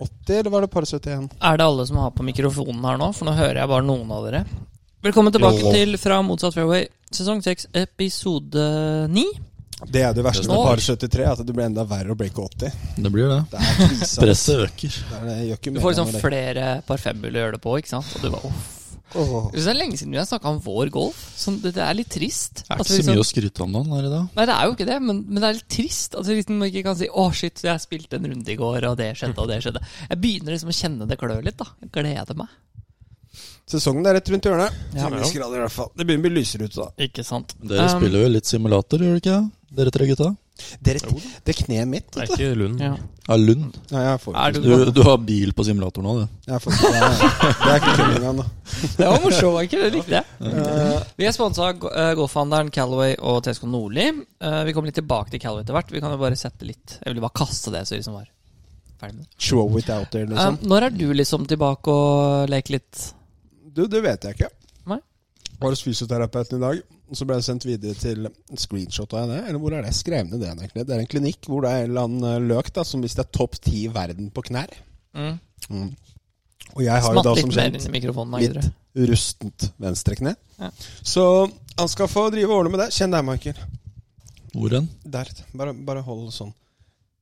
70, eller var det par 71? Er det alle som har på mikrofonen her nå? For nå hører jeg bare noen av dere. Velkommen tilbake Jo. til Fra motsatt fairway, sesong 6, episode 9. Det er det verste med Nå. par 73, at det blir enda verre å bli ikke 80. Det blir det. Det er krise. ass. Presset øker. Det er det, jeg gjør ikke Du får mer liksom flere par femmer å gjøre det på, ikke sant? Og du bare, åh. Åh. Det er lenge siden vi har snakka om vår golf. Så det, det er litt trist. Det er at ikke vi så liksom- mye å skryte om dagen her i dag. Nei, det er jo ikke det, men, men det er litt trist at vi liksom ikke kan si 'Å, shit, jeg spilte en runde i går, og det skjedde, og det skjedde'. Jeg begynner liksom å kjenne det klør litt, da. Jeg gleder meg. Sesongen er rett rundt hjørnet. Ja. 20 grader i hvert fall. Det begynner å bli lysere ute da. Ikke sant? Dere Um, spiller jo litt simulator, gjør dere ikke? det? Dere tre gutta? Dere, det er kneet mitt. Det er ikke Lund. ja. Ja, Lund. Nei, jeg får Er ikke du, Du, du har bil på simulator nå, du. jeg får ikke det. Det er ikke tullingen, da. det var morsomt, var ikke det? Likte jeg. Eh, Vi er sponsa av eh, golfhandleren Callaway og TSK Nordli. Eh, Vi kommer litt tilbake til Callaway etter hvert. Vi kan jo bare sette litt Jeg ville bare kaste det, så vi som var ferdig med det. Show it out there, Eh, liksom. Når er du liksom tilbake og leker litt? Du, det vet jeg ikke. Nei. Var hos fysioterapeuten i dag, og så ble jeg sendt videre til en screenshot av henne. Eller hvor er det? Jeg skrev ned det egentlig. Det er en klinikk hvor det er en eller annen eh, løk da, som hvis det er topp ti i verden på knær. Mm. Mm. Og jeg har jo Smatt da litt som mer kjent inn i mikrofonen. da, litt. Gidre. rustent venstrekne. Ja. Så han skal få drive og ordne med det. Kjenn deg, Michael. Hvor hen? Der. Bare, bare hold sånn.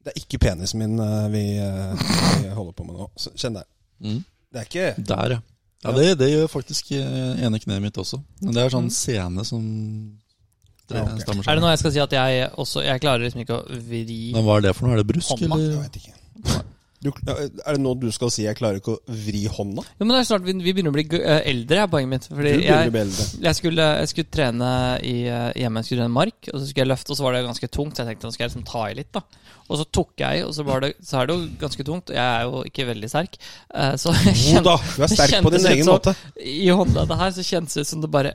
Det er ikke penisen min eh, vi, eh, vi holder på med nå. Så kjenn deg. Mm. Det er ikke Der, ja. Ja, det, det gjør faktisk eh, ene kneet mitt også. Men det er sånn scene som det Ja, ok. stammer Er det fra. noe jeg skal si at jeg også Jeg klarer liksom ikke å vri Men hva er det for noe? Er det brusk, Hånda. Jeg eller? vet ikke. Du, er det noe du skal si? Jeg klarer ikke å vri hånda? Jo, men det er snart vi, vi begynner å bli g- eh, eldre, er poenget mitt. Fordi Du begynner å jeg, bli eldre. jeg, skulle, jeg skulle trene i, eh, hjemme, jeg skulle trene mark, og så skulle jeg løfte, og så var det ganske tungt. Så jeg tenkte nå skal jeg liksom ta i litt, da. Og så tok jeg i, og så, var det, så er det jo ganske tungt. og Jeg er jo ikke veldig sterk. eh, Så jeg Jo kjente, da, du er sterk på kjentes din litt egen sånn. måte. i håndleddet her så kjentes det ut som det bare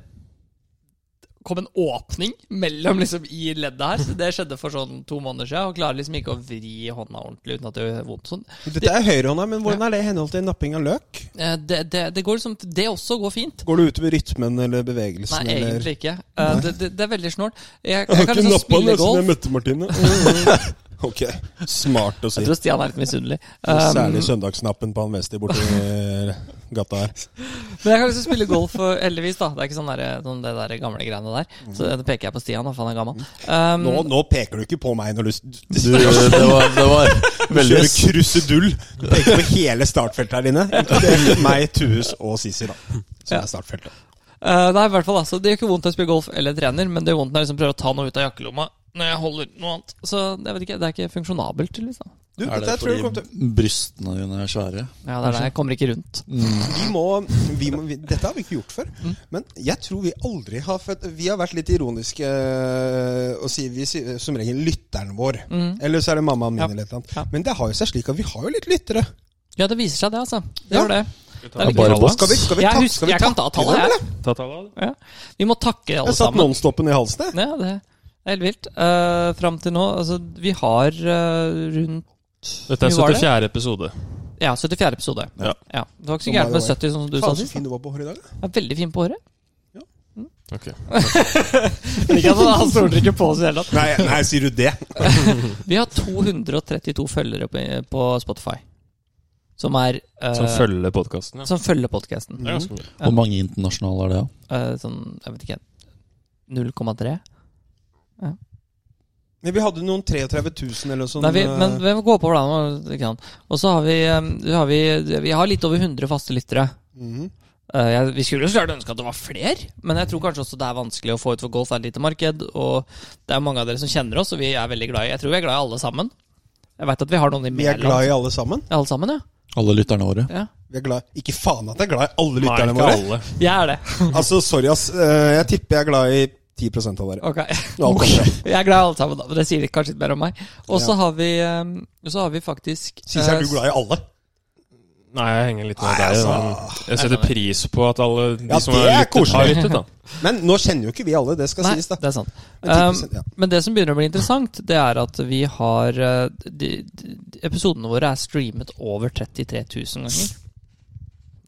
kom en åpning mellom liksom i leddet her. Så det skjedde for sånn to måneder siden. Og klarer liksom ikke å vri hånda ordentlig uten at det gjør vondt. sånn. Dette er høyrehånda, men hvordan er det i henhold til napping av løk? Eh, Det, det, det går liksom Det også går fint. Går du utover rytmen eller bevegelsen? Nei, eller? egentlig ikke. Eh, Det, det, det er veldig snålt. Jeg, jeg kan liksom spille golf. Mm. møtte Martine. ok, smart å si. Jeg tror Stian er litt misunnelig. Um, Særlig søndagsnappen på han Westi borti eh, gata her. men jeg kan liksom spille golf, og heldigvis. da Det er ikke sånn, der, sånn det der gamle greiene der. Så det peker jeg på Stian, da, for han er gammel. Um, Mhm. Nå, nå peker du ikke på meg når du, s- du Du, det var, det var veldig kjører krusedull. Du peker på hele startfeltet her inne. Inkludert meg, Tues og Sisi, da. Som Ja. er startfeltet. Eh, nei, i hvert fall altså, Det gjør ikke vondt å spille golf eller trener, men det gjør vondt når jeg liksom prøver å ta noe ut av jakkelomma når jeg holder noe annet. Så jeg vet ikke, det er ikke funksjonabelt. liksom Du, dette Er det her tror jeg kommer til fordi brystene dine er svære? Ja, det er det. Jeg kommer ikke rundt. Mhm. vi må, vi må vi, Dette har vi ikke gjort før. Mm. Men jeg tror vi aldri har fått Vi har vært litt ironiske øh, og sier vi sier som regel lytteren vår. Eller så er det mammaen min Mm. Ja. eller et eller annet. Ja. Men det har jo seg slik at vi har jo litt lyttere. Ja, det viser seg, det, altså. Det Ja. gjør det. Det Ja, er bare viktig. boss. Skal vi, skal vi, Jeg, tak- husker, skal vi jeg kan ta takke tallet, dem, eller? jeg. Ta tallet, da. Ja. Vi må takke alle Jeg satt sammen. nonstoppen i halsen, jeg. Ja, det det er helt vilt. Uh, Fram til nå altså, Vi har eh, rundt Dette er Hvor mye var det? 74. episode. Ja, 74. episode. Ja. Det var ikke Som så gærent by med the 70, sånn som du sa Faen, så sist. da. fin du var på håret i dag. da. Det er Veldig fin på håret. Mm. Ok. Ikke at Han stoler ikke på oss i det hele tatt. Nei, nei, sier du det? Vi har 232 følgere på, på Spotify. Som er eh, Som følger podkasten. Ja. Som følger podkasten. Det er ganske mye. Hvor mange internasjonale er det? da? sånn, jeg vet ikke 0,3? Men vi hadde noen 33 000 eller noe sånt. Nei, vi, øh, men vi må gå på hvordan vi kan. Og så har vi, eh, vi har vi Vi har litt over 100 faste lyttere. mhm. Eh, jeg, vi skulle jo klart ønske at det var flere, men jeg tror kanskje også det er vanskelig å få ut for golf er et lite marked. Og det er mange av dere som kjenner oss, og vi er veldig glad i Jeg tror vi er glad i alle sammen. Jeg veit at vi har noen i Vi er glad Mæland. i alle sammen. Alle sammen, ja. Alle lytterne våre? ja. Vi er glad. Ikke faen at jeg er glad i alle Nei, lytterne ikke våre. alle. Jeg er det. Altså, sorry, ass. Øh, Jeg tipper jeg er glad i 10 av dere. Ok. Nå kommer det. Jeg er glad i alle sammen, da, men det sier kanskje litt mer om meg. Og så Ja. har vi ehm, Så har vi faktisk Sisi, er eh, du glad i alle? Nei, jeg henger litt med Nei, deg. altså. men Jeg setter pris på at alle de Ja, som det har lyttet, er har koselig. lyttet. da Men nå kjenner jo ikke vi alle, det skal Nei, sies, da. det er sant. Men 10%, ja. Ehm, men det som begynner å bli interessant, det er at vi har eh, de, de, de, Episodene våre er streamet over 33 000 ganger.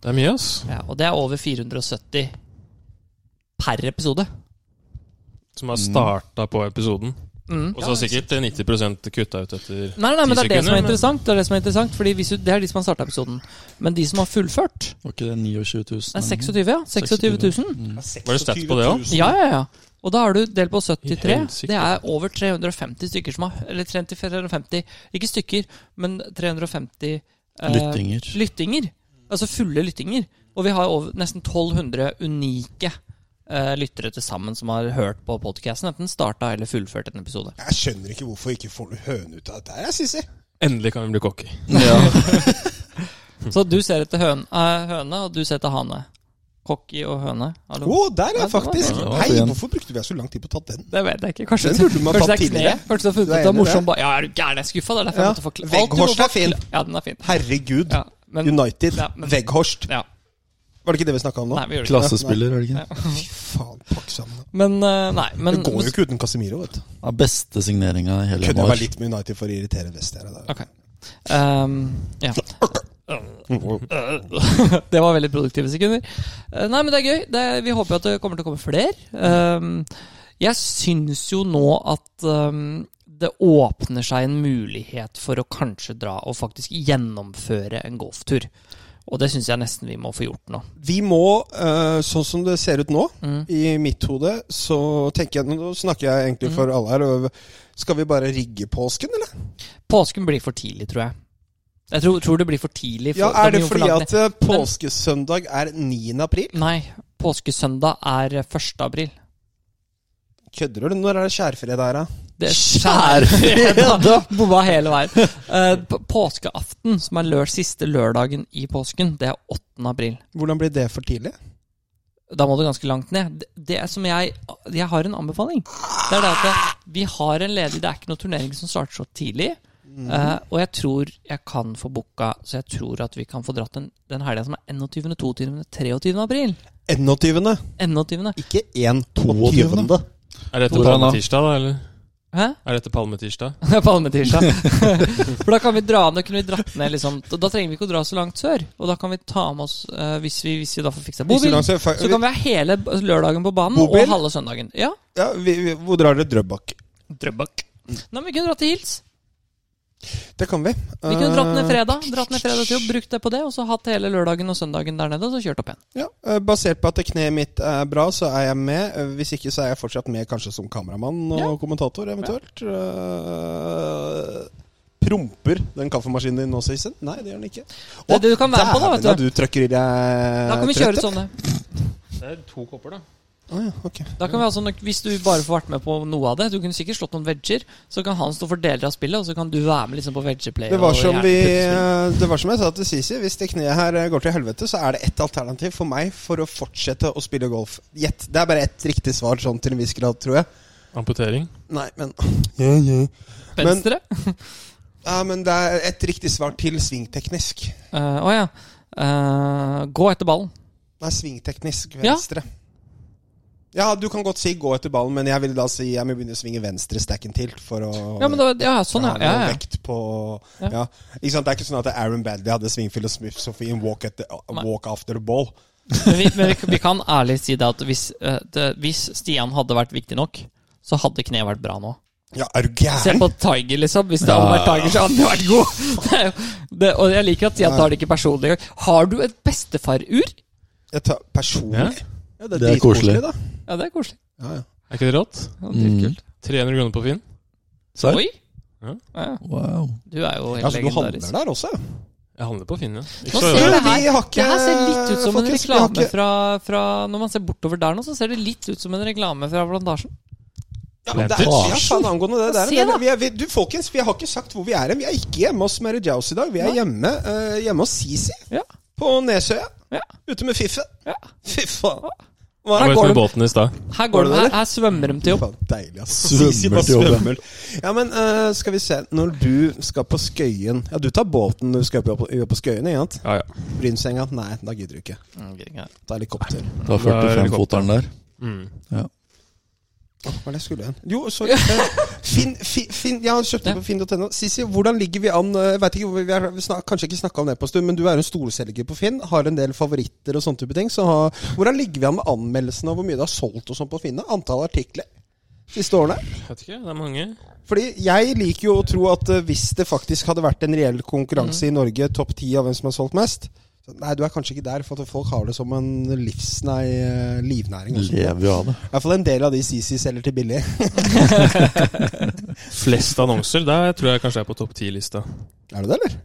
Det er mye, ass. Ja, og det er over 470 per episode. Mm. Som har starta på episoden. Mm. Og så sikkert 90 kutta ut etter Nei, nei, nei, men det er det sekunder, som er men- interessant. Det er det som er interessant Fordi hvis du, det er de som har starta episoden. Men de som har fullført Var ikke det 29 000? Mm. Nei, 26, ja. 26 000. Mm. Var det stats på det også? Ja, ja, ja. Og da har du delt på I 73. helsike. Det er over 350 stykker som har Eller 350 Ikke stykker, men 350 eh, Lyttinger. lyttinger. Altså fulle lyttinger. Og vi har over, nesten 1200 unike eh, lyttere til sammen som har hørt på podkasten. Enten starta eller fullført en episode. Jeg skjønner ikke hvorfor ikke får du høne ut av dette her, jeg, Sissy. Endelig kan vi bli kokker. Så du ser etter høn, eh, høne, og du ser etter hane. Kokki og høne. Å, Hallo. der er Ja, jeg faktisk! det var Hei, fin. hvorfor brukte vi så lang tid på å ta den? Det vet jeg ikke. Kanskje, Den burde man tatt kanskje det er tidligere. kneet. Kanskje du har funnet ut Du er at det er enig i morsom det? ba- Ja, er du gæren? Jeg er skuffa. Det er Ja. derfor jeg måtte forklare. Vegghorst er fin. Ja, den er fin. Herregud. Ja, men, United. Ja, men- Veghorst. Ja. Var det ikke det vi snakka om nå? Nei, vi gjør det ikke. Klassespiller, er det ikke? det? Fy faen, pakk sammen. da. Men, eh, nei, men Det går jo ikke uten Casemiro, vet du. Ja, beste signeringa i hele Kunne jeg januar. være litt med United for å irritere Vestjæra. Ok. Ehm, ja. det var veldig produktive sekunder. Eh, Nei, men det er gøy. Det er, vi håper at det kommer til å komme flere. Ehm, jeg syns jo nå at ehm, det åpner seg en mulighet for å kanskje dra og faktisk gjennomføre en golftur. Og det syns jeg nesten vi må få gjort nå. Vi må, eh, sånn som det ser ut nå, Mm. i mitt hode, så tenker jeg Nå snakker jeg egentlig for Mm. alle her. og Skal vi bare rigge påsken, eller? Påsken blir for tidlig, tror jeg. Jeg tror, tror det blir for tidlig. Ja, for- Er det blir jo for fordi at langt eh, påskesøndag er 9. april? ned. Nei. Påskesøndag er 1. april. Kødder du? Når er det skjærfredag her, da? Det er skjærfredag! Bomma hele veien. Eh, på- påskeaften, som er lør, siste lørdagen i påsken, det er 8. april. Hvordan blir det for tidlig? Da må du ganske langt ned. Det, det er som jeg Jeg har en anbefaling. Det er det at jeg- vi har en ledig Det er ikke noen turnering som starter så tidlig. Eh, og jeg tror jeg kan få booka, så jeg tror at vi kan få dratt den, den helga som er 21., 22., 23. april. 21. 21. Ikke 1. 22.. 22. Er dette Hvor er han da? palmetirsdag, da? Eller Hæ? er dette palmetirsdag? Palmetirsdag. For da kan vi dra ned, kunne vi dratt ned liksom Da, da trenger vi ikke å dra så langt sør. Og da kan vi ta med oss, eh, hvis, vi, hvis vi da får fiksa bobil, Hvis du langs- så kan vi ha hele b- lørdagen på banen Bobil? og halve søndagen. Ja. ja, vi, vi, hvor drar dere Drøbak? Drøbak. Nei, men vi kunne dratt til Hils. Det kan vi. Eh, Vi kunne dratt ned fredag Dratt ned fredag til og brukt det på det, og så hatt hele lørdagen og søndagen der nede, og så kjørt opp igjen. Ja, eh, Basert på at kneet mitt er bra, så er jeg med. Eh, Hvis ikke, så er jeg fortsatt med kanskje som kameramann og Ja. kommentator, eventuelt. Eh, promper den kaffemaskinen din nå, Sisen? Nei, det gjør den ikke. Det er det du kan være med på da, vet dæven, ja, du. du trøkker i deg Eh, Da kan vi kjøre sånn. sånne. Det er to kopper, da. Å ja, ok. Da kan vi ha sånne Hvis du bare får vært med på noe av det Du kunne sikkert slått noen vegger, så kan han stå for deler av spillet, og så kan du være med liksom på veggeplay. Det var, og som gjerne vi, eh, puttespill. det var som jeg sa til Sisi, hvis det kneet her eh, går til helvete, så er det ett alternativ for meg for å fortsette å spille golf. Gjett. Det er bare ett riktig svar sånn til en viss grad, tror jeg. Amputering. Nei, men men- Venstre. Ja, men det er et riktig svar til svingteknisk. Eh, Å ja. Eh, gå etter ballen. Nei, svingteknisk Ja. venstre. Ja. du kan godt si gå etter ballen, men jeg vil da si jeg må begynne å svinge venstre stacken til for å Ja, men da, ja, sånn, ja. ha noe ja, ja. vekt på Ja. ja. Ikke sant, Det er ikke sånn at Aaron Badley hadde svingfill og smith Sophie in walk, at the, Nei. walk after the ball. Men, vi, men vi, vi kan ærlig si det at hvis, eh, det, hvis Stian hadde vært viktig nok, så hadde kneet vært bra nå. Ja, er du Se gæren? på Tiger, liksom. Hvis det hadde vært Tiger, så hadde han vært god. Det, er jo- det, og jeg liker at Stian tar det ikke personlig. engang. Har du et bestefarur? Jeg tar personlig. Ja, Det er dritkoselig, koselig. da. Ja, det er koselig. Ja, ja. Er ikke det rått? Ja, Mm. Mm. dritkult. 300 kroner på Finn. Serr? Oi! Ja. Ja, Wow. du er jo helt Ja, så Altså, du handler legendarisk. der også? ja. Jeg handler på Finn, ja. Nå Ikke så ser Ja, jeg ille. det vi her. har ikke- Det her ser litt ut som en folkens, vi har reklame ikke- fra, fra Når man ser bortover der nå, så ser det litt ut som en reklame fra Plantasjen. Ja, men det er, Plantasje. ja, faen angående det der. Se men da. vi er, vi, du, folkens, vi har ikke sagt hvor vi er hen. Vi er ikke hjemme hos Mary Jouse i dag. Vi er Nei. hjemme, eh, hjemme hos Sisi. Ja. På Nesøya. Ja. Ute med Fiffen. Ja. Fy faen. Jeg Hvordan var ute går med det? båten i stad. Her, går Var de, det her, det? her svømmer de til jobb. Faen, Deilig, ass. Svømmer Sisi bare til jobb, ja. svømmer. Ja, men eh, skal vi se Når du skal på Skøyen Ja, du tar båten når du skal på, jobbe på Skøyen, ikke sant? Ja, ja. Brynsenga? Nei, da gidder du ikke. Mm, Ta helikopter. Da Da er det 45-foteren der. Mm. Åh, Hva er det jeg skulle hen? Jo, sorry. Eh, Finn, Finn, Finn Ja, han kjøpte Ja. på Finn.no. Sisi, hvordan ligger vi an? Eh, Jeg vet ikke, hvor vi- vi har vi snak, kanskje ikke snakka om det på en stund, men du er en storselger på Finn. Har en del favoritter og sånne type ting. Så har, hvordan ligger vi an med anmeldelsene og hvor mye du har solgt og sånn på Finn? da? Antall artikler? siste årene? Vet ikke, det er mange. Fordi jeg liker jo å tro at eh, hvis det faktisk hadde vært en reell konkurranse i Norge, topp ti av hvem som har solgt mest så Nei, du er kanskje ikke der, for at folk har det som en livs... Nei, eh, livnæring. Også. I Lever jo av det. hvert fall en del av de CC selger til billig. Flest annonser, der tror jeg kanskje jeg er på topp ti-lista. Er du det, eller?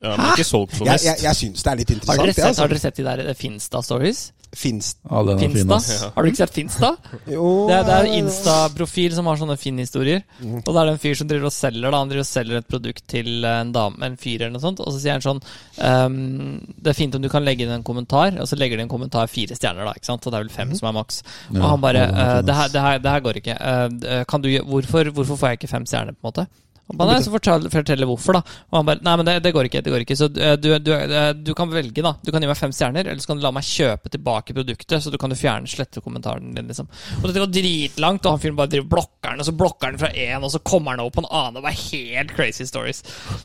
Ja, men ikke solgt for Jeg, mest. jeg, jeg syns det er litt Har dere interessant. sett, har det, dere sett de der eh, Finsta-stories? altså. Fins Ja, den er fin, Finsta? ass. Ja. Har du ikke sett Finsta? jo Det er, det er en Insta-profil som har sånne Finn-historier. Mhm. Og det er det en fyr som driver og selger da Han driver og selger et produkt til eh, en dame En fyr eller noe sånt. Og så sier han sånn ehm, Det er fint om du kan legge inn en kommentar. Og så legger de en kommentar fire stjerner, da. Ikke sant? Og det er vel fem som er maks. Og Mhm. Ja, han bare ja, det er eh, fint, det, her, ass. det, her, det her går ikke. Eh, kan du, gjø- hvorfor, hvorfor får jeg ikke fem stjerner, på en måte? Og han er, så forteller, forteller hvorfor, da. Og han bare Nei, men det, det går ikke. det går ikke Så eh, du, du, eh, du kan velge, da. Du kan gi meg fem stjerner, eller så kan du la meg kjøpe tilbake produktet. Så du kan jo fjerne slette kommentaren din, liksom. Og dette går dritlangt, og han fyren bare driver blokker den, og så blokker han fra én, og så kommer han over på en annen. Det var helt crazy stories.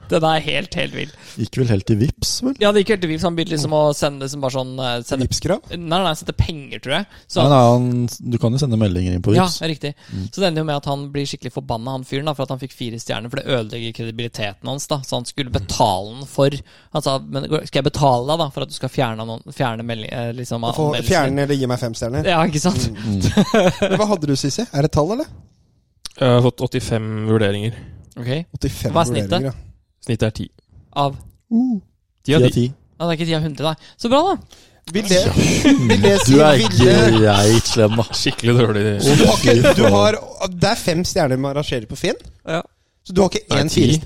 Den er helt, helt vill. Gikk vel helt til Vips, vel? Ja, det gikk helt vilt. Han begynte liksom å sende liksom bare sånn eh, sende, Vipskrav? Nei, nei, nei, sette penger, tror jeg. Så Nei, nei, han, du kan jo sende meldinger inn på ja, Vips. det er riktig. Så det ender jo med at han blir skikkelig forbanna, han fyren, da, for at han fikk fire stjerner. For det ødelegger kredibiliteten hans, da. Så han skulle betale den for Han sa men skal jeg betale deg, da, for at du skal fjerne, noen, fjerne melding, eh, liksom, Få Mm. anmeldelsen din?» Fjerne eller gi meg fem stjerner. Ja, ikke sant? Men Hva hadde du, Sissy? Er det et tall, eller? Jeg har fått 85 vurderinger. Ok. 85 Hva er snittet? vurderinger, ja. Snittet er 10. Av Ti av Ti av ti. ti. Ja, det er ikke de av 100, nei. Så bra, da. Vil det, vil det si Du er vil det, greit slem, da. Skikkelig dårlig. du har ikke, du har, Det er fem stjerner man rangerer på Finn, Ja, så du har ikke Nei, én ti. fire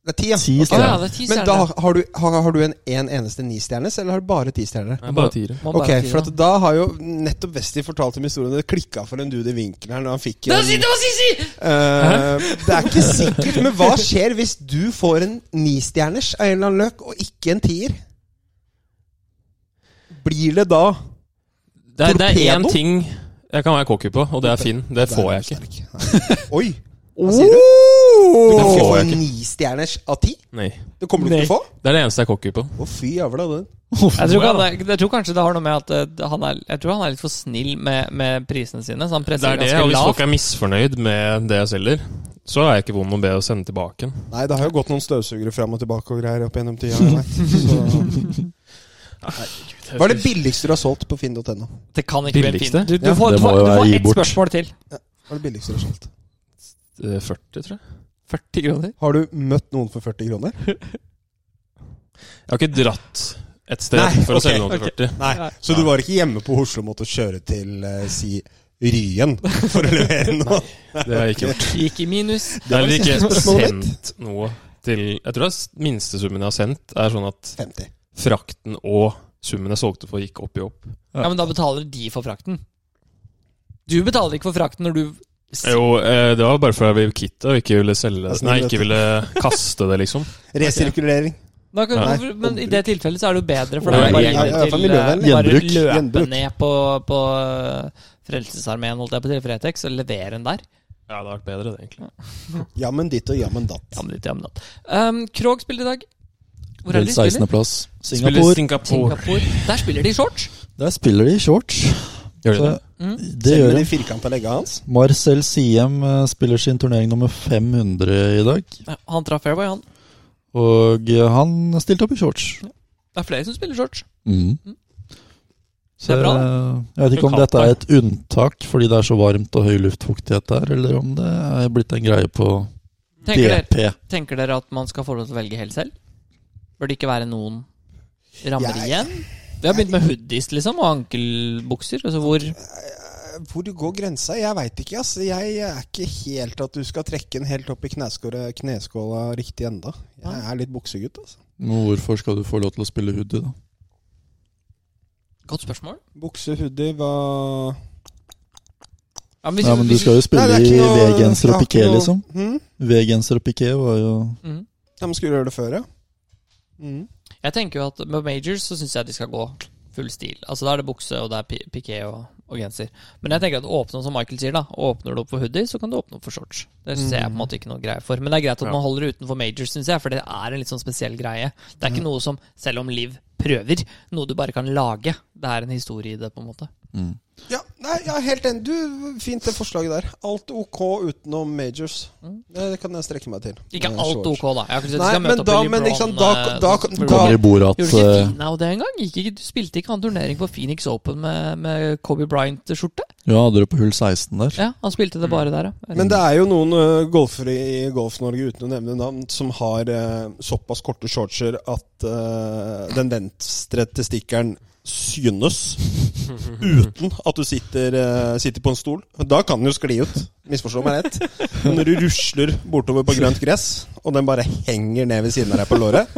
Det er ti, ja. Ti Ok. ja stjerner. det er ti Men stjerner. da har du, har, har du en, en eneste nistjernes, eller har du bare tistjerner? Nei, bare tiere. Må bare Ok, si for at det. da har jo nettopp Westi fortalt om historien. Det klikka for en dude i vinkelen her når han fikk Der en, sitter man, Sisi! Eh, Det er ikke sikkert, men hva skjer hvis du får en nistjerners av en eller annen løk, og ikke en tier? Blir det da Det er, det er én Torpedo? ting jeg kan være cocky på, og det er Finn. Det får jeg ikke. ikke. Oi! Hva sier du? Du kan ikke få får jeg en ikke. nistjerners av ti? Nei. Det kommer du ikke til å få? Det er det eneste jeg er cocky på. Å, fy jævla, det. Jeg tror, han, er- jeg tror kanskje det har noe med at eh, han er, jeg tror han er litt for snill med, med prisene sine. Så han Det presser er det, ganske og hvis folk lavt. er misfornøyd med det jeg selger, så er jeg ikke vond å be å sende tilbake. den. Nei, det har jo gått noen støvsugere fram og tilbake og greier opp gjennom tida. jeg vet. Så- Hva er det billigste du har solgt på finn.no? Det kan ikke bli en fin. Billigste? Du, du Ja. får, Det du må får, jo du være får gi ett bort. spørsmål til. Hva er det billigste du har solgt? Eh, 40, tror jeg. 40 kroner. Har du møtt noen for 40 kroner? Jeg har ikke dratt et sted Nei, for å ok, selge noe til ok. 40. Nei, Så du var ikke hjemme på Oslo og måtte kjøre til eh, si Ryen for å levere noe? Det har jeg ikke gjort. Gikk i minus. Det er heller siste ikke spørsmålet sendt noe til Jeg tror det er s- minstesummen jeg har sendt, er sånn at 50. frakten og summen jeg solgte for, gikk opp i opp. Ja, men da betaler de for frakten. Du betaler ikke for frakten når du s- Jo, eh, det var bare fordi jeg ble kvitt det og ikke ville selge det. snill, Nei, vet ikke du. ville kaste det, liksom. Resirkulering. da kan, Nei. hvorfor- Men i det tilfellet så er det jo bedre, for Nei, da er det bare ja, ja, egentlig for til eh, miljøvennlig. bare Gjenbruk. løpe Gjenbruk. ned på, på eh, Frelsesarmeen, holdt jeg på å si, Fretex, og levere den der. Ja, det har vært bedre, det, egentlig. Jammen ditt og jammen datt. Ja, men litt, ja, men da. Um, Krog spiller i dag. Hvor er Delt det de spiller? 16.-plass. Spiller Singapore. Singapore. Singapore. Der spiller de i shorts. Mm. Der spiller de i shorts. Gjør de Så, det? det Selv gjør med de. de firkanta legga hans. Marcel Siem eh, spiller sin turnering nummer 500 i dag. Han traff Fairway, han. Og eh, han stilte opp i shorts. Det er flere som spiller shorts. Mm. Det er bra, eh, Jeg vet ikke om Kaldt dette er der. et unntak fordi det er så varmt og høy luftfuktighet der, eller om det er blitt en greie på Tenker dere, DP. tenker dere at man skal få lov til å velge helt selv? Bør det ikke være noen rammer Jeg- igjen? Vi har begynt med hoodies liksom, og ankelbukser. Altså hvor Eh, Hvor går grensa? Jeg veit ikke. ass. Jeg er ikke helt at du skal trekke den helt opp i kneskåla, kneskåla riktig enda. Jeg er litt buksegutt, altså. Men hvorfor skal du få lov til å spille hoodie, da? Godt spørsmål. Bukse, hoodie, hva Ja, men hvis- Ja, men du hvis- skal jo spille Nei, det er i ikke noe- V-genser det og er piké, ikke noe- liksom. Hm? V-genser og piké var jo Mhm. Ja, men skulle gjøre det før, ja. Mm. Jeg tenker jo at med majors så syns jeg de skal gå full stil. Altså Da er det bukse, og det er pi- piké og, og genser. Men jeg tenker at åpne, som Michael sier, da åpner du opp for hoodie, så kan du åpne opp for shorts. Det syns jeg på en måte ikke noe greie for. Men det er greit at Ja. man holder det utenfor majors, syns jeg, for det er en litt sånn spesiell greie. Det er ikke noe som, selv om Liv prøver, noe du bare kan lage. Det er en historie i det, på en måte. Ja, Nei, jeg er helt enig. Du, Fint det forslaget der. Alt OK utenom majors. Det kan jeg strekke meg til. Mm. Ikke Eh, alt shorts. ok, da. Jeg har ikke sett Nei, skal møte men opp da, i men LeBron, ikke sant, da, eh, da, som- da, Kommer i bordet Gjorde at du ikke eh, Fina det engang? Du spilte ikke han turnering på Phoenix Open med, med Kobe Bryant-skjorte? Ja, hadde du på hull 16 der? Ja, han spilte det bare der, ja. Men det er jo noen ø, golfere i Golf-Norge, uten å nevne navn, som har ø, såpass korte shortser at ø, den venstre testikkelen synes uten at du sitter, ø, sitter på en stol. Da kan den jo skli ut, misforstå meg rett. Men Når du rusler bortover på grønt gress, og den bare henger ned ved siden av deg på låret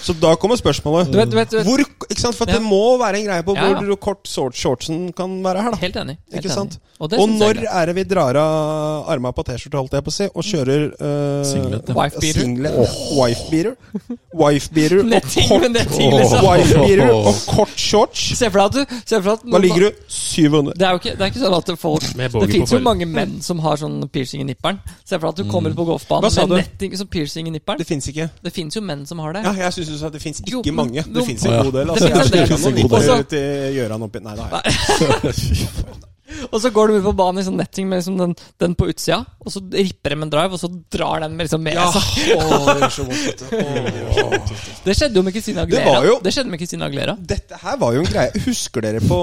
Så da kommer spørsmålet. Du vet, du vet, du vet. Hvor, ikke sant? For at Ja. det må være en greie på Ja, ja. hvor kort short- shortsen kan være her, da. Helt enig. Helt Ikke sant? Enig. Og, det og synes jeg når er greit. er det vi drar av arma på T-skjorta, holdt jeg på å si, og kjører uh, Singlet, ja. Wife-beater. Wife-beater. Wife-beater og Netting med kort netting, Åh. liksom. Wife-beater og kort shorts. Se for deg at du se for deg at Da noen- ligger du 700. Det er jo ikke, det er ikke sånn at folk Med Det bogey på fins jo forhuden. mange menn som har sånn piercing i nipperen. Se for deg at Mm. du kommer ut på golfbanen Hva sa du? med netting som piercing i nipperen. Det fins ikke. Det fins jo menn som har det. Ja, jeg syns jo at det fins Jo, ikke men- mange. jo. Det fins en Ja. god del. Det Altså, finnes jeg en del. kjenner Også- noen til Gjøran oppi Nei, det har jeg ikke. Og så går de ut på banen i sånn netting med liksom den, den på utsida, og så ripper de en drive, og så drar den liksom med Ja. seg. Åh, det gjør så vondt, vet du. Åh, det gjør så vondt, vet du. Det skjedde jo med Christina Det Aglera. var jo- Det skjedde med Christina Aglera. Dette her var jo en greie. Husker dere på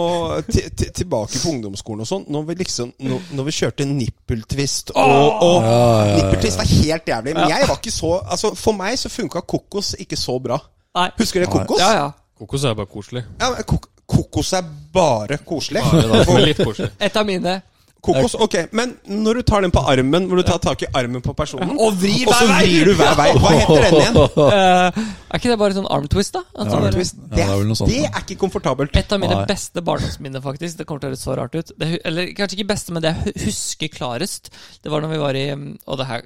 ti- ti- tilbake på ungdomsskolen og sånn? Når vi liksom Når, når vi kjørte nippeltvist og, og Ja, ja, ja. Nippeltvist var helt jævlig. Men jeg var ikke så Altså For meg så funka kokos ikke så bra. Nei. Husker dere kokos? Ja, ja. Kokos er bare koselig. Ja, men kok kokos er bare koselig. Men litt koselig. Et av mine. Kokos, ok Men når du tar den på armen, hvor du tar tak i armen på personen Og vrir så hver vei! vrir du hver vei. Hva heter den igjen? Eh, er ikke det bare sånn arm twist, da? At sånn der- Twist. Ja, det er vel noe sånt, det ja. er ikke komfortabelt. Et av mine Nei. beste barndomsminner, faktisk. Det kommer til å høres så rart ut. Det, hu- eller kanskje ikke beste, men det jeg hu- husker klarest, det var når vi var i mm, Og det her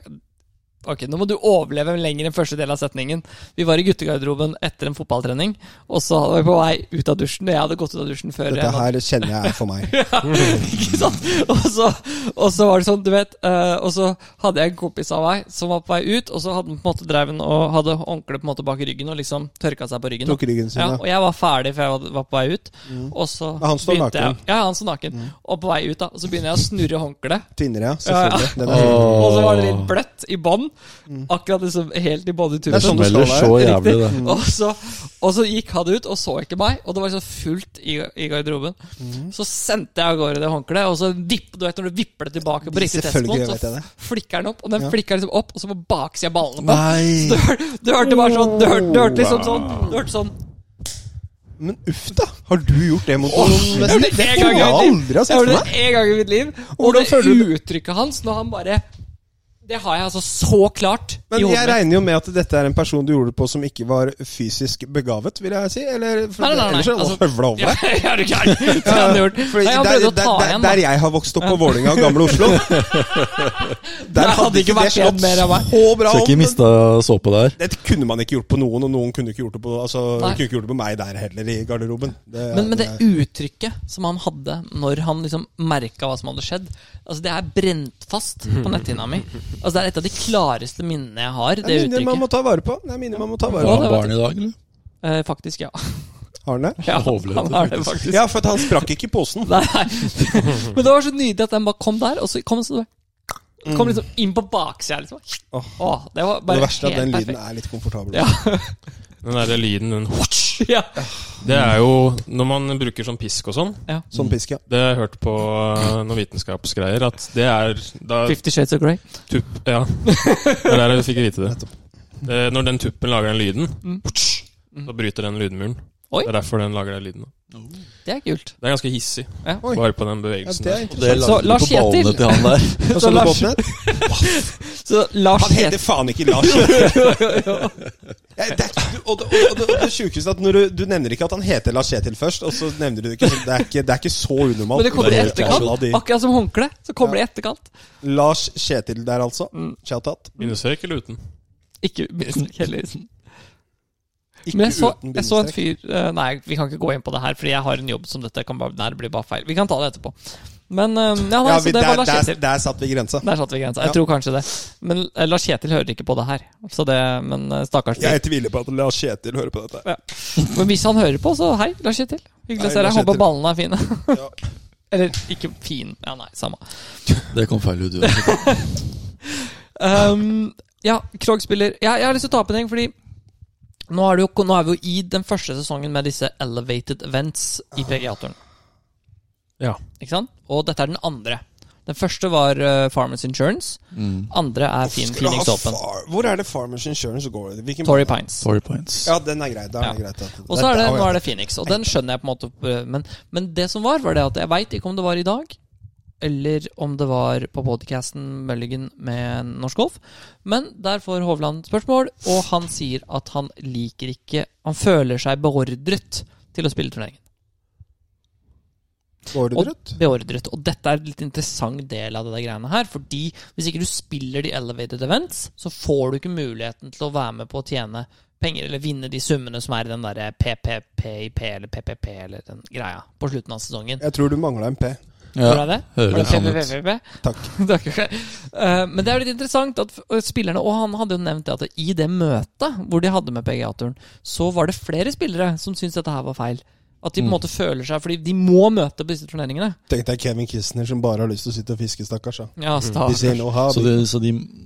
Ok, nå må du overleve lenger enn første del av setningen. Vi var i guttegarderoben etter en fotballtrening, og så var vi på vei ut av dusjen. Og jeg hadde gått ut av dusjen før Dette jeg- her Mm. kjenner jeg er for meg. ikke sant? Og så, og så var det sånn, du vet eh, Og så hadde jeg en kompis av meg som var på vei ut, og så hadde han på en måte dreven og hadde håndkleet på en måte bak ryggen og liksom tørka seg på ryggen. da. Tok ryggen sin, ja, ja. og jeg var ferdig, for jeg var, var på vei ut. Og så Men han står begynte naken. Mm. Jeg, ja, han står naken. Og på vei ut, da, så begynner jeg å snurre håndkleet. Tynnere, ja. Ja, Selvfølgelig. ja. Den er fin. Og så var det litt bløtt i bånn. Akkurat liksom helt i bånntuben. Det er sånn Det smeller så jævlig, det. Riktig. Og så, og så gikk han ut og så ikke meg, og det var liksom fullt i, i garderoben. Mm. Så sendte jeg av gårde det håndkleet, og så vipp, du vet når du vipper det tilbake på riktig Selvfølgelig vet tidspunkt, jeg det. så flikker den opp, og den Ja. flikker liksom opp, og så på baksida av ballene på. Du, Nei! hør- du hørte bare sånn Du hørte, du hørte liksom sånn Du hørte sånn Men uff, da. Har du gjort det mot noen? Jeg hørte det en gang i mitt aldri liv. ha Jeg sett for hørte meg. det en gang i mitt liv. Og Hvordan det føler du uttrykket hans når han bare Det har jeg altså så klart i Men hodet jeg mitt. regner jo med at dette er en person du gjorde det på som ikke var fysisk begavet, vil jeg si? Eller for, Nei, nei, nei, nei. ellers er det Altså- høvla over Ja, deg. er du gæren? Det har han gjort. Fordi Nei, han der, prøvde å der, ta der, igjen, da. der jeg har vokst opp på Vålinga og Gamle Oslo Der hadde ikke vært det igjen slått mer av meg. så bra Skal om. ikke men miste såpe der. Dette kunne man ikke gjort på noen, og noen kunne ikke gjort det på Altså, Nei. kunne ikke gjort det på meg der heller, i garderoben. Det er- Men, men det uttrykket som han hadde når han liksom merka hva som hadde skjedd, altså det er brent fast Mhm. på netthinna mi. Altså Det er et av de klareste minnene jeg har. det Det er minner man må uttrykket. ta vare på. Det er minner man må ta vare Ja, Har på. det han var- barn i dag, eller? Eh, faktisk, ja. Har han det? ja Overlevde, han har det faktisk. Ja, for at han sprakk ikke posen. Nei, nei. Men det var så nydelig at den bare kom der, og så kom den sånn Kom liksom inn på baksida, liksom. Åh. Åh, det var Det bare verste er at den helt lyden perfekt. er litt komfortabel. Ja. Den derre lyden, den hutsch, Ja. Det er jo når man bruker sånn pisk og sånn. Sånn pisk, ja. Det har jeg hørt på eh, noen vitenskapsgreier, at det er da Fifty Shades of Grey. tupp... Ja. Det er der jeg fikk vite det. Eh, Når den tuppen lager den lyden, hutsch, så bryter den lydmuren. Oi. Det er derfor den lager den lyden. Det er kult. Det er ganske hissig, Ja. Oi. bare på den ja bevegelsen det er der. interessant. Det Så, lagde du Lars på ballene Kjetil. til han der. Og Så sånne Lars, båtene. så Lars Han heter Kjetil faen ikke Lars. Ja, det er, og det, og det, og det sjukeste er at når du, du nevner ikke at han heter Lars Kjetil først, og så nevner du det ikke. så Det er ikke, det er ikke så unormalt. Men det kommer i er helt jævla etterkant. Ah. de- Akkurat som håndkle, så kommer det i etterkant. Lars Kjetil der, altså. Mm. Shout-out. Bindestrek eller uten? Ikke bindestrek heller. Ikke Men jeg så, uten jeg så en bindestrek. fyr eh, Nei, vi kan ikke gå inn på det her, fordi jeg har en jobb som dette. Kan bare, nei, det blir bare feil. Vi kan ta det etterpå. Men eh, ja, nei, Ja, vi, så det der, var Lars der, Kjetil. der satt vi grensa. Der satte vi grensa. Ja. Jeg tror kanskje det. Men eh, Lars Kjetil hører ikke på det her. Så det, men eh, stakkars fyr. Jeg tviler på at Lars Kjetil hører på dette. Men hvis han hører på, så hei, Lars Kjetil. Hyggelig Hei, å se deg. Lars Håper Kjetil. ballene er fine. Eller ikke fin. Ja, nei, samme. Det kom feil ut. uansett. Ehm, ja, Krog spiller ja, Jeg har lyst til å ta opp en ting, fordi nå er, det jo, nå er vi jo i den første sesongen med disse elevated events Ah. i PGA-turen. Ja. Ikke sant? Og dette er den andre. Den første var eh, Farmers Insurance. Mm. Andre er fin Skulle Phoenix ha Open. far- Hvor er det Farmers Insurance går? Hvilken Torrey Pines. Sorry points. Ja, den er grei. Da er det Ja. greit. at- Og så er det, der- nå er det Phoenix, og den skjønner jeg på en måte. eh, Men, men det som var, var det at jeg veit ikke om det var i dag, eller om det var på podcasten Mølligen med Norsk Golf. Men der får Hovland spørsmål, og han sier at han liker ikke Han føler seg beordret til å spille turneringen. Går det Og- drøtt? Beordret. Og dette er en litt interessant del av det der greiene her. Fordi hvis ikke du spiller de elevated events, så får du ikke muligheten til å være med på å tjene penger eller vinne de summene som er i den derre PPPIP eller PPP eller den greia på slutten av sesongen. Jeg tror du mangla en P. Hvor Ja, er det? Var det høres sånn ut. PPPPP? Takk. Takk. Eh, Men det er litt interessant at eh, spillerne Og han hadde jo nevnt det at i det møtet hvor de hadde med PGA-turen, så var det flere spillere som syntes dette her var feil. At de på en måte føler seg Fordi de må møte på disse turneringene. Tenkte jeg Kevin Kistner som bare har lyst til å sitte og fiske, stakkars. da. Ja, De sier stakkars. no hobby. Så de, så de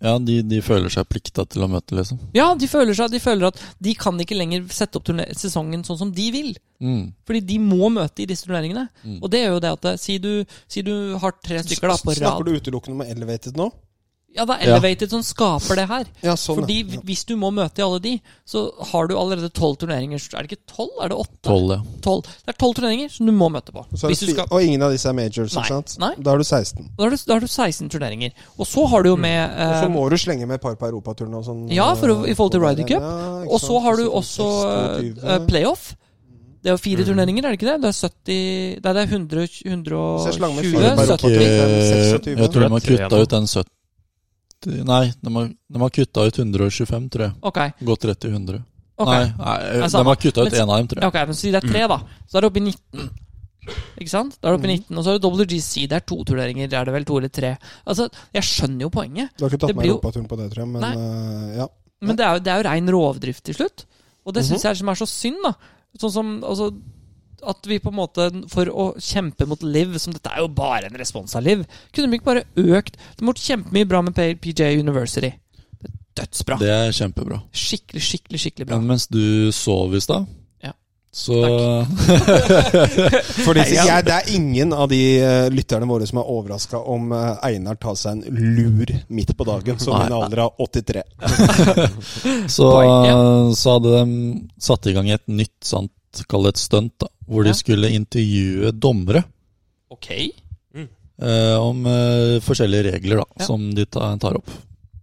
ja, de, de føler seg plikta til å møte, liksom. ja de, føler seg, de føler at de kan ikke lenger sette opp turne- sesongen sånn som de vil. Mm. Fordi de må møte i disse turneringene. Og det gjør jo det at eh, si du, si du har tre stykker da på Snakker rad du utelukkende om elevated nå? Ja, det er elevated som skaper det her. Ja, sånn. Fordi ja. hvis du må møte i alle de, så har du allerede tolv turneringer. Er det ikke tolv? Er det åtte? Tolv, ja. Tolv. Det er tolv turneringer som du må møte på. Så er det Hvis du fi- skal, Og ingen av disse er majors, Nei, ikke sant? nei. Da er du 16. da, har du, da har du 16 turneringer. Og så har du jo med Og eh, så må du slenge med et par på europaturen og sånn. Ja, for å- i forhold til Ja, Ryder Cup. ikke Og så sant? har du Så også 26, eh, playoff. Det er jo fire turneringer, er det ikke det? Det er 70 Nei, det er 100, Så jeg slang med 120 fire bare opp 70 på Ikke- tjuefem, Jeg tror de har Det er tre kutta nå. ut den 70 Nei, de har, de har kutta ut 125, tror jeg. Ok. Gått rett til 100. ok Nei, nei de samme. har kutta ut Men- en av dem, tror Ja, jeg. ok, men Si det er tre, da. Så er det oppe i 19. Ikke sant? Da er det oppe i 19 Og så er det WGC. Det er to turneringer. Er det vel to eller tre? Altså, Jeg skjønner jo poenget, Du har ikke Det tatt med blir jo- europaturen på det, tror jeg, men Nei. eh, ja. men det er jo, det er jo rein rovdrift til slutt. Og det syns jeg er det som er så synd, da. Sånn som altså, at vi på en måte, for å kjempe mot Liv, som dette er jo bare en respons av Liv, kunne vi ikke bare økt Det måtte kjempemye bra med PJ University. Det er Dødsbra. Det Mm. er kjempebra. Skikkelig, skikkelig, skikkelig bra. Men mens du sov i stad, Ja. så Fordi jeg, Det er ingen av de eh, lytterne våre som er overraska om eh, Einar tar seg en lur midt på dagen, som i Nei. en alder av 83. så, Poeng, så hadde de satt i gang et nytt, sant, kall det et stunt, da, hvor Ja. de skulle intervjue dommere Ok. eh, om eh, forskjellige regler da, Ja. som de ta, tar opp.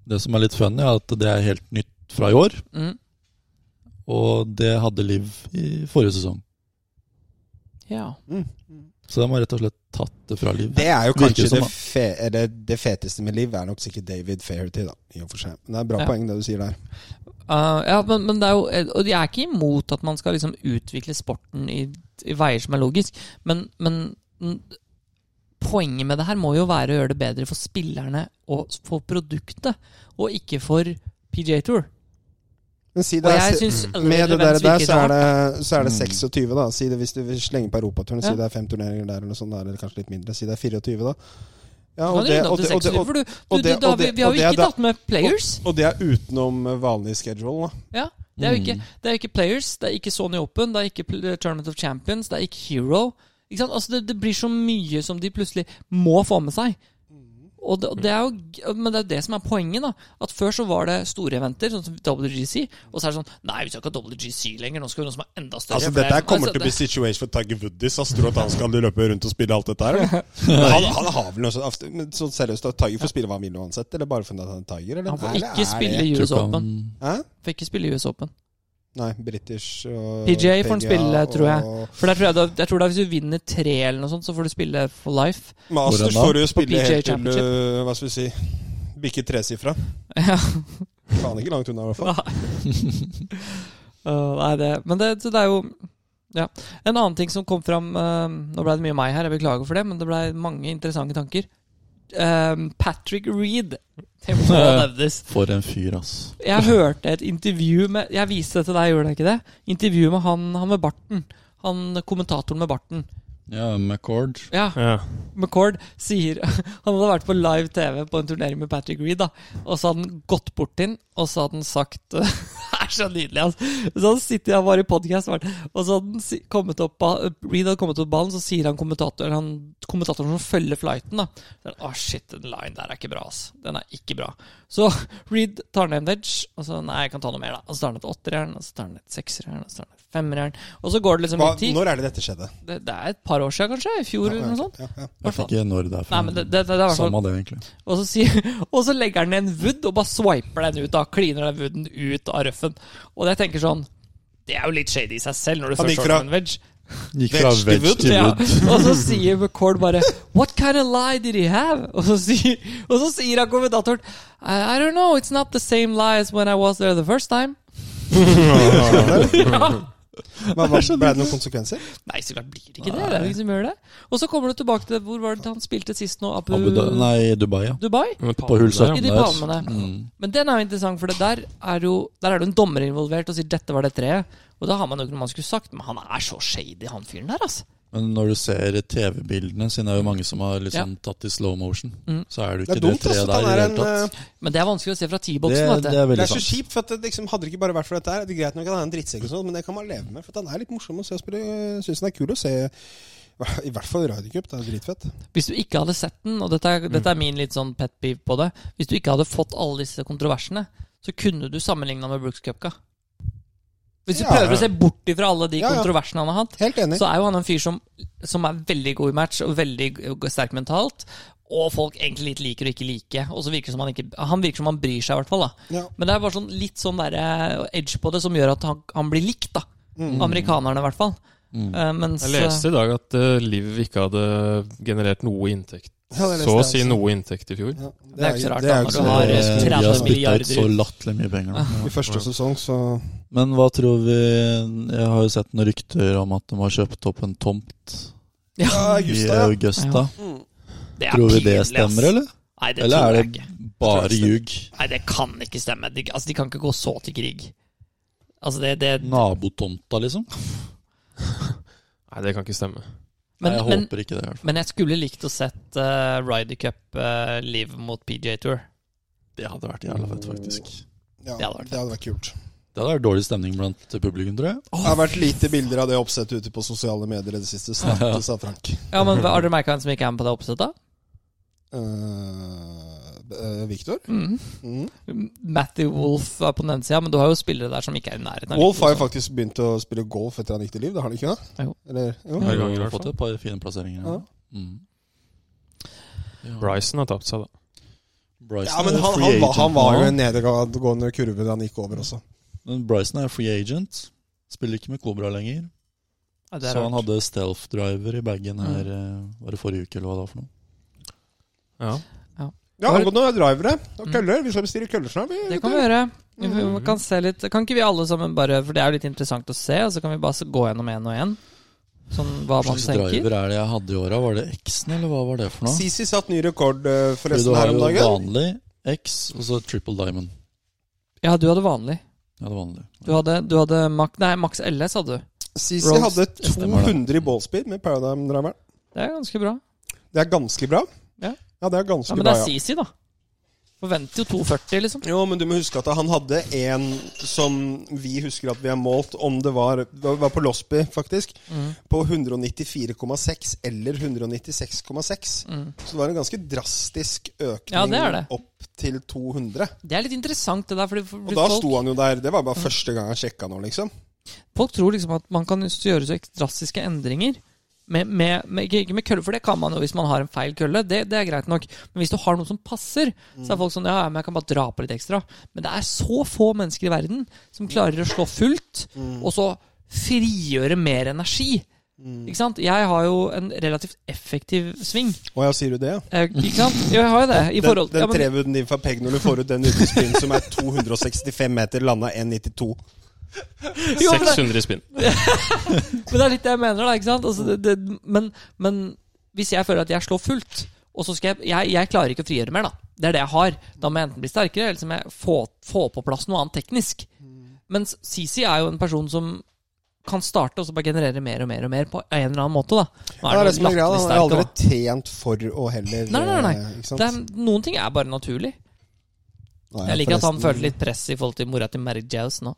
Det som er litt funny, er at det er helt nytt fra i år, Mm. og det hadde Liv i forrige sesong. Ja. Mm. Så de har rett og slett tatt det fra Liv. Det er jo Virker kanskje som, det, da. fe eller det feteste med liv, er nok sikkert David Fairty, da. I og for seg. Men det er bra Ja. poeng, det du sier der. Uh, ja, men, men det er jo eh, Og jeg er ikke imot at man skal liksom utvikle sporten i, i veier som er logisk, men, men mm, poenget med det her må jo være å gjøre det bedre for spillerne og for produktet, og ikke for PJ Tour. Men si Og det er, jeg se- mm. syns med det der, der så, er det, så er det Mm. 26, da. Si det hvis du vil slenge på europaturen. Ja. Si det er fem turneringer der, eller noe sånt, der, eller kanskje litt mindre. Si det er 24, da. Ja, og det, og det, og det, og- for du, og du, det- da, og vi, det- vi har og jo det er ikke da- tatt med players. og det er utenom eh, vanlig schedule, da. Ja, det er jo Mm. ikke, det er jo ikke players, det er ikke Sony Open, det er ikke pl- Tournament of Champions, det er ikke Hero. Ikke sant? Altså, det, det blir så mye som de plutselig må få med seg. Og det, og det er jo, g- men det er det som er poenget. da At Før så var det store eventer, sånn som WGC. Og så er det sånn Nei, vi skal ikke ha WGC lenger. Nå skal vi ha noe som er enda større. Altså, for dette det er- her kommer altså, til å det- bli situation for Tiger Woodies. Altså, tror du at han skal løpe rundt og spille alt dette her? eller? Men Han, Han, han har vel noe sånt men sånn seriøst, at Tiger får spille hva han vil uansett? Eller bare fordi han er Tiger? Eller? Han får Eller er ikke det- spille Tror US ikke Open. han- Hæ? Får ikke spille US Open Nei, British og PGA får han PGA spille, tror jeg. og- For der tror jeg, da, jeg tror da hvis du vinner tre, eller noe sånt, så får du spille for life. Masters Hvordan da? får du jo spille PGA helt til Championship. øh, Hva skal vi si Bikke tresifra. Ja Faen ikke langt unna, i hvert fall. Øh, nei, det Men det, så det er jo ja. En annen ting som kom fram øh, Nå ble det mye meg her, jeg beklager for det, men det ble mange interessante tanker. Ehm, Patrick Reed. Det må nevnes. For en fyr, ass. Jeg hørte et intervju med Jeg viste det til deg, gjorde jeg ikke det? Intervju med han, han med barten. Han kommentatoren med barten. Ja, McCord. Ja, Ja. McCord sier Han hadde vært på live TV på en turnering med Patrick Reed, da. Og så hadde han gått bort til ham, og så hadde han sagt Det er så nydelig, altså. Så hadde han sittet der bare i podkast, og så hadde han si- kommet opp ba- Reed hadde kommet opp ballen, så sier han kommentatoren han, Kommentatoren som følger flighten, da så han, Å, shit, den line der er ikke bra, ass. Den er ikke bra. Så Reed tar ned en wedge, og så Nei, jeg kan ta noe mer, da. Og så tar han et åtterjern, og så tar han et sekserjern, og så tar han et femmerjern, og så går det liksom Hva, litt tid. når er det dette skjedde? Det, det er et par år siden, kanskje? I fjor, eller noe sånt? Ja, ja. Jeg vet ikke når det Nei, er fra. men det, det, det er i hvert fall Samme det, egentlig. og så, sier, og så legger han ned en wood og bare swiper den ut. da Kliner den wooden ut av røffen. Og jeg tenker sånn Det er jo litt shady i seg selv når du Han først gikk får fra- en wedge. Gikk fra Vegg til veg wood. til Ja. wood. Og så sier McCord bare What kind of lie did he have? Og så sier, og så sier han kommentatoren I, I don't know, it's not the same lie as when I was there the first time. ja. Men, hva, ble det noen konsekvenser? Nei, så klart blir det ikke det. Det er jo ingen som gjør det. Og så kommer du tilbake til Hvor var det han spilte sist nå? Abu, Abu Dhabi- Nei, Dubai, ja. Dubai? På hull 17 I de palmene. Mm. Men den er jo interessant, for det der er jo Der er det jo en dommer involvert og sier 'dette var det treet'. Og da har man jo ikke noe man skulle sagt, men han er så shady, han fyren der, altså. Men når du ser TV-bildene, siden det er jo mange som har liksom tatt i slow motion, Mm. så er det jo Det ikke er det, dumt altså, treet at der han i er det en hele tatt. eh, Men det er vanskelig å se fra Det, T-boksen. det vet du. er Det veldig er så sant. kjipt, for at det liksom, hadde det ikke bare vært for dette her Det er greit nok at han er en drittsekk, og sånt, men det kan man leve med. For at han er litt morsom å se og spille. Syns han er kul å se. I hvert fall i Radio Cup. Det er dritfett. Hvis du ikke hadde sett den, og dette er, Mm. dette er min litt sånn pet peeve på det Hvis du ikke hadde fått alle disse kontroversene, så kunne du sammenligna med Brooks Cupka. Hvis du Ja, prøver ja. å se bort ifra alle de Ja, ja. kontroversene han har hatt, Helt enig. så er jo han en fyr som, som er veldig god i match og veldig g- sterk mentalt. Og folk egentlig litt liker og ikke liker. Og så virker det som han ikke Han virker som han bryr seg, i hvert fall. da Ja. Men det er bare sånn litt sånn der, eh, edge på det som gjør at han, han blir likt, da. Mm. Amerikanerne, i hvert fall. Eh, mens Jeg leste i dag at eh, Liv ikke hadde generert noe inntekt. Ja, det leste så å jeg si også. noe inntekt i fjor. Ja, Det er jo ikke så rart, det er da, jo når ikke du så har rart. eh, Vi 30 har spytta ut milliarder Ah. så ut. latterlig mye penger. nå. I første sesong, så Men hva tror vi Jeg har jo sett noen rykter om at de har kjøpt opp en tomt Ja, i Augusta, ja. Augusta. Det er Tror vi det pinlig, ass. stemmer, eller? Nei, det Eller tror er jeg det ikke. bare ljug? Nei, det kan ikke stemme. De, altså, de kan ikke gå så til krig. Altså, det, det Nabotomta, liksom? Nei, det kan ikke stemme. Nei, men, jeg men, håper ikke det. i hvert fall. men jeg skulle likt å sett uh, Ryder Cup eh, Live mot PJ Tour. Det hadde vært jævla fett, faktisk. Ja, Det hadde vært det hadde vært kult. Det hadde vært dårlig stemning blant publikum, tror jeg. Det har vært lite bilder av det oppsettet ute på sosiale medier i det siste. Snakkes av Frank. Ja, men Har dere merka hvem som ikke er med på det oppsettet? Uh, Eh, Victor? Mm. Mm. Matthew Wolff er på den ene sida, men du har jo spillere der som ikke er i nærheten. av Wolf har jo Liverpool, altså. faktisk begynt å spille golf etter han gikk til Liv, det har han ikke? da? Jo. Eller, jo. Ja. Hver gang i Vi har hvert fått fall. et par fine plasseringer. Ja. Ja. Mm. Ja. Bryson har tapt seg, da. Bryson Ja, men er han, free han, var, agent han var nå. jo en nedadgående kurve da han gikk over også. Men Bryson er free agent. Spiller ikke med Cobra lenger. så- Ja, det er Så han rart. hadde stealth driver i bagen her eh, Var det forrige uke, eller hva det var for noe? Ja. Ja, Var- Mm. angående drivere og køller. Vi skal bestille køller snart. Vi, Det kan vi gjøre. Mm. Vi vi kan se litt Kan ikke vi alle sammen bare For det er jo litt interessant å se, og så kan vi bare så gå gjennom én og én? Sånn hva Hva man slags tenker. driver er det jeg hadde i åra? Var det X-en, eller hva var det for noe? Sisi satt ny rekord eh, Fordi du forresten har her om jo dagen. vanlig X, og så triple diamond. Ja, du hadde vanlig. Ja, det er vanlig. Du hadde, du hadde mak, nei, Max LS hadde du. Sisi Rolls- hadde Stemmer det. 200 i ballspeed med Paradigm-driveren. Det er ganske bra. Det er ganske bra. Ja. det er Ja, ganske Men det bra, er ja. CC, da. Forventer jo 2,40, liksom. Jo, men du må huske at han hadde en som vi husker at vi har målt, om det var, det var på Losby, faktisk, Mm. på 194,6 eller 196,6. Så det var en ganske drastisk økning Mm. Ja, det er det. opp til 200. Det er litt interessant, det der. Fordi for- Og da folk- Mm. sto han jo der. Det var bare første gang jeg sjekka nå, liksom. Folk tror liksom at man kan gjøre så drastiske endringer. Med, med, med, ikke- ikke med kølle, for det kan man jo hvis man har en feil kølle. Det, det er greit nok. Men hvis du har noe som passer, så Mm. er folk sånn Ja, ja, men jeg kan bare dra på litt ekstra. Men det er så få mennesker i verden som klarer å slå fullt, Mm. og så frigjøre mer energi. Mm. Ikke sant? Jeg har jo en relativt effektiv sving. Å ja, sier du det? ja? Eh, Ikke sant? Jo, jeg har jo det. I Den, forhold den ja, men- trevuden din fra Peg når du får ut den utespinn som er 265 meter, landa 1,92. Jo, men det- 600 i spinn. Men det er litt det jeg mener, da. ikke sant? Altså, det, det, men, men hvis jeg føler at jeg slår fullt, og så skal jeg, jeg Jeg klarer ikke å frigjøre mer, da. Det er det jeg har. Da må jeg enten bli sterkere, eller så må jeg få, få på plass noe annet teknisk. Mens Sisi er jo en person som kan starte og så bare generere mer og mer og mer på en eller annen måte. da. Nå Ja, det er det jo som er greia. da. latterlig Han har aldri sterk, trent for å heller Nei, nei, nei. eh, Ikke da. sant? det er, noen ting er bare naturlig. Nei, Jeg liker at han forresten. følte litt press i forhold til mora til Mary Jaus nå.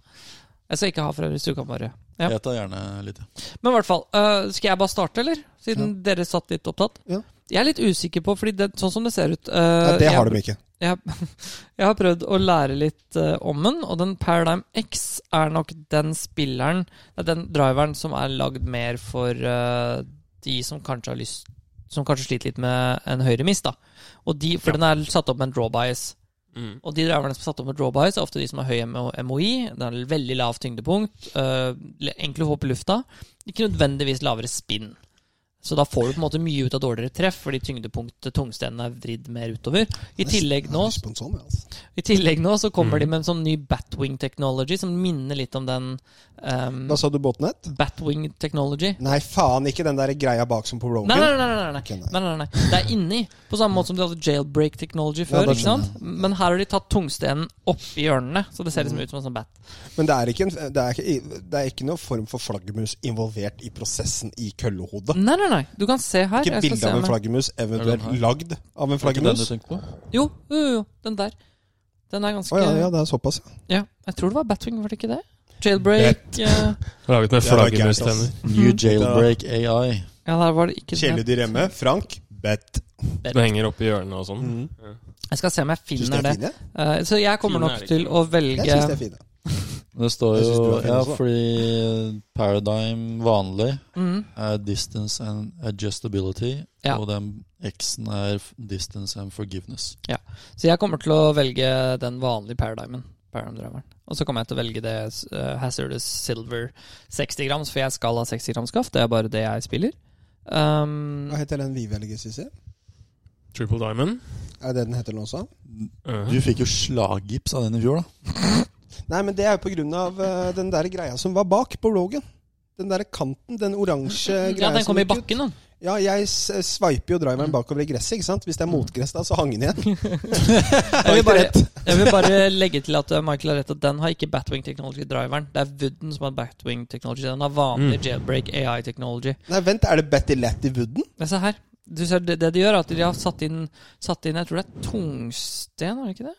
Jeg skal ikke ha fra Stukamare. Ja. Jeg tar gjerne litt. ja. Men i hvert fall, øh, skal jeg bare starte, eller? Siden dere satt litt opptatt. Ja. Jeg er litt usikker på, fordi det, sånn som det ser ut øh, Nei, det har jeg, de ikke. Jeg, jeg har prøvd å lære litt øh, om den, og den Paradigm X er nok den spilleren, det er den driveren som er lagd mer for øh, de som kanskje har lyst som kanskje sliter litt med en høyre miss, da. Og de, for den er satt opp med en draw bias. Mm. Og de driverne som er satt opp med drawbys, er ofte de som har høy MO MOI. Det er veldig lavt tyngdepunkt. øh, le- enkle hopp i lufta. Ikke nødvendigvis lavere spinn. Så da får du på en måte mye ut av dårligere treff, fordi tyngdepunktet, tungstenen, er vridd mer utover. I tillegg nå, Jeg har lyst på en sånn, ja, altså. i tillegg nå så kommer de Mm. med en sånn ny Batwing technology som minner litt om den ehm, Hva sa du, båtnett? Batwing technology. Nei, faen ikke den der greia bak som på Rogan. Nei, nei, nei, nei, nei. Oh, Ok, nei. nei, nei, nei. Det er inni. På samme måte som de hadde jailbreak technology Ja, før. da ikke sant? Men her har de tatt tungstenen opp i hjørnene, så det Mm. ser liksom ut som en sånn bat. Men det er ikke, en, det er ikke, det er ikke noen form for flaggermus involvert i prosessen i køllehodet. Nei, nei, nei. Du kan se her. Ikke Jeg skal bilde se av en meg. flaggermus, eventuelt Er det den lagd av en Var ikke den du flaggermus. tenkte på? Jo, jo, jo, jo. Den der. Den er ganske Å ja, ja, det er såpass. ja. Ja, Jeg tror det var Batwing, var det ikke det? Jailbreak eh, Laget med Det var gærent, ass. flaggermustenner. New Jailbreak AI. Ja, der var det ikke det. Kjæledyr hjemme. Frank. Bet. Som henger oppi hjørnet og sånn. Mm. Jeg skal se om jeg Syns finner dere er det. fine? Eh, så jeg kommer Fine er nok det til ikke. å Jeg velge syns de er fine. Det står Jeg synes du jo var fin Ja, også, da. fordi eh, Paradigm vanlig Mhm. er distance and adjustability, Ja. og den X-en er f- distance and forgiveness. Så jeg kommer til å velge den vanlige Paradigmen. Paradigm-driveren. Og så kommer jeg til å velge det eh, Hazardous Silver 60 grams, for jeg skal ha 60 grams skaft. Det er bare det jeg spiller. Um, Hva heter den vi velger, Sissy? Triple Diamond. Er det det den heter nå også? Uh. Du fikk jo slaggips av den i fjor, da. Mm. Nei, men det er jo på grunn av eh, den der greia som var bak på Rogan. Den derre kanten, den oransje greia ja, den som kom i gikk Mm. ut. bakken, da. Ja, jeg s- eh, sveiper jo driveren bakover i gresset, ikke sant? Hvis det Mm. er motgress da, så hang den igjen. Jeg vil, ikke bare, jeg vil bare legge til at eh, Michael har rett at den har ikke Batwing Technology-driveren. Det er Wooden som har Batwing Technology. Den har vanlig Mm. jailbreak AI-technology. Nei, vent, er det Betty Lett i Wooden? Men se her. Du ser det, det de gjør, er at de har satt inn, satt inn Jeg tror det er tungsten, er det ikke det?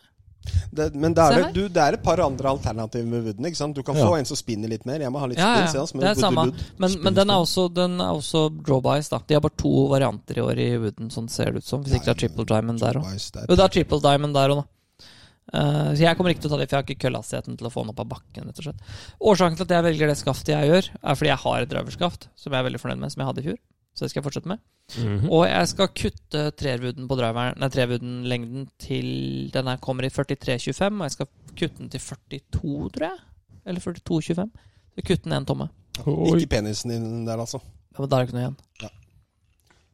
Det, men det er, Se det- her. du, det er et par andre alternativer med Wooden, ikke sant? Du kan Ja. få en som spinner litt mer. Jeg må ha litt Ja, spinn, ja. se hans, men Det er Wood- samme. Wood- Men, men den er også, den er også drawbys, da. De har bare to varianter i år i Wooden, sånn ser det ut som. Hvis ikke det er triple diamond der òg. Boys, det Jo, er- det er triple diamond der òg, da. Eh, så jeg kommer ikke til å ta det, for jeg har ikke køllhastigheten til å få den opp av bakken. rett og slett Årsaken til at jeg velger det skaftet jeg gjør, er fordi jeg har et driverskaft som jeg er veldig fornøyd med, som jeg hadde i fjor. Så det skal jeg fortsette med. Mhm. Og jeg skal kutte trervuden på driveren Nei, trervuden-lengden til den her kommer i 43,25, og jeg skal kutte den til 42, tror jeg. Eller 42,25. Så Kutte den en tomme. Ikke penisen din der, altså. Ja, men da er det ikke noe igjen.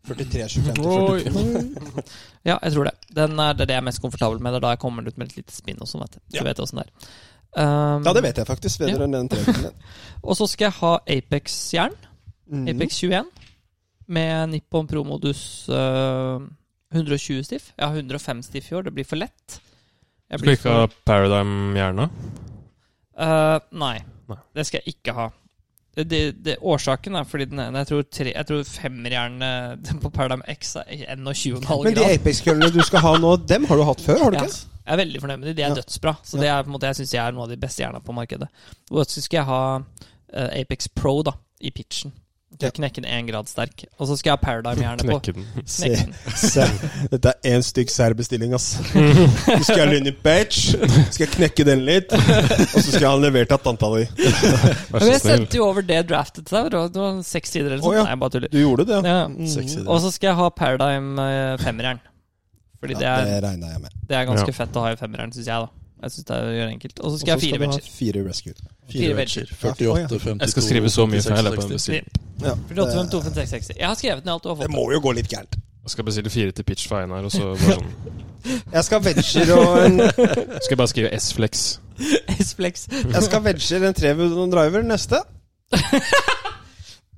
43, 25 til 42. Oi. Ja, jeg tror det. Den er, det er det jeg er mest komfortabel med. Det er da jeg kommer ut med et lite spinn og sånn. vet du. Du Ja. vet åssen det er. Um, Ja, det vet jeg faktisk. Vedrørende den treningen. Og så skal jeg ha Apex-jern. Mhm. Apex 21. Med Nippon Promodus øh, 120 stiff. Jeg har 105 stiff i år. Det blir for lett. Jeg Skal blir ikke ha for- Paradigm-hjerna? Øh, nei, Nei. det skal jeg ikke ha. Det, det, det, årsaken er fordi den ene Jeg tror, tre- jeg tror femmerjernet på Paradigm X er 21,5 grad. Mm. Men de Apex-køllene du skal ha nå, dem har du hatt før, har du Ja. ikke? Jeg er veldig fornøyd med de. De er Ja. dødsbra. Så det er på en måte, jeg syns de er noe av de beste hjerna på markedet. Og så skal jeg ha eh, Apex Pro da, i pitchen. Ja. Ja. Knekke den én grad sterk. Og så skal jeg ha Paradigm-hjerne på. Knekke den. Knekke den. Se, dette er én stygg særbestilling, ass. Mm. Du skal inn i patch, skal knekke den litt, og så skal han levert av tanta di. Vær Men så jeg snill. sendte jo over det draftet til deg. Det var- Det var seks sider eller noe Å, sånt. ja. Mm. Nei, jeg bare tuller. Du gjorde det, Ja. Sexy, det. Og så skal jeg ha Paradigm eh, femmerjern. Fordi det Ja, er, det regna jeg med. det er ganske Ja. fett å ha i femmerjern, syns jeg, da. Jeg synes det er enkelt Og så skal Og jeg ha fire du ha bencher. Fire rescue. Fire Fire wedger. Ja, å, ja. 48, 52, Jeg skal skrive så mye feil på den 56. bestillingen. Ja, 48, 25, 660. Jeg har skrevet ned alt du har det fått. må jo gå litt gærent. Jeg skal bestille fire til pitch for Einar, og så bare sånn. Jeg skal venture og en Skal jeg bare skrive S-flex. S-flex. Jeg skal venture en trehjul og en driver neste.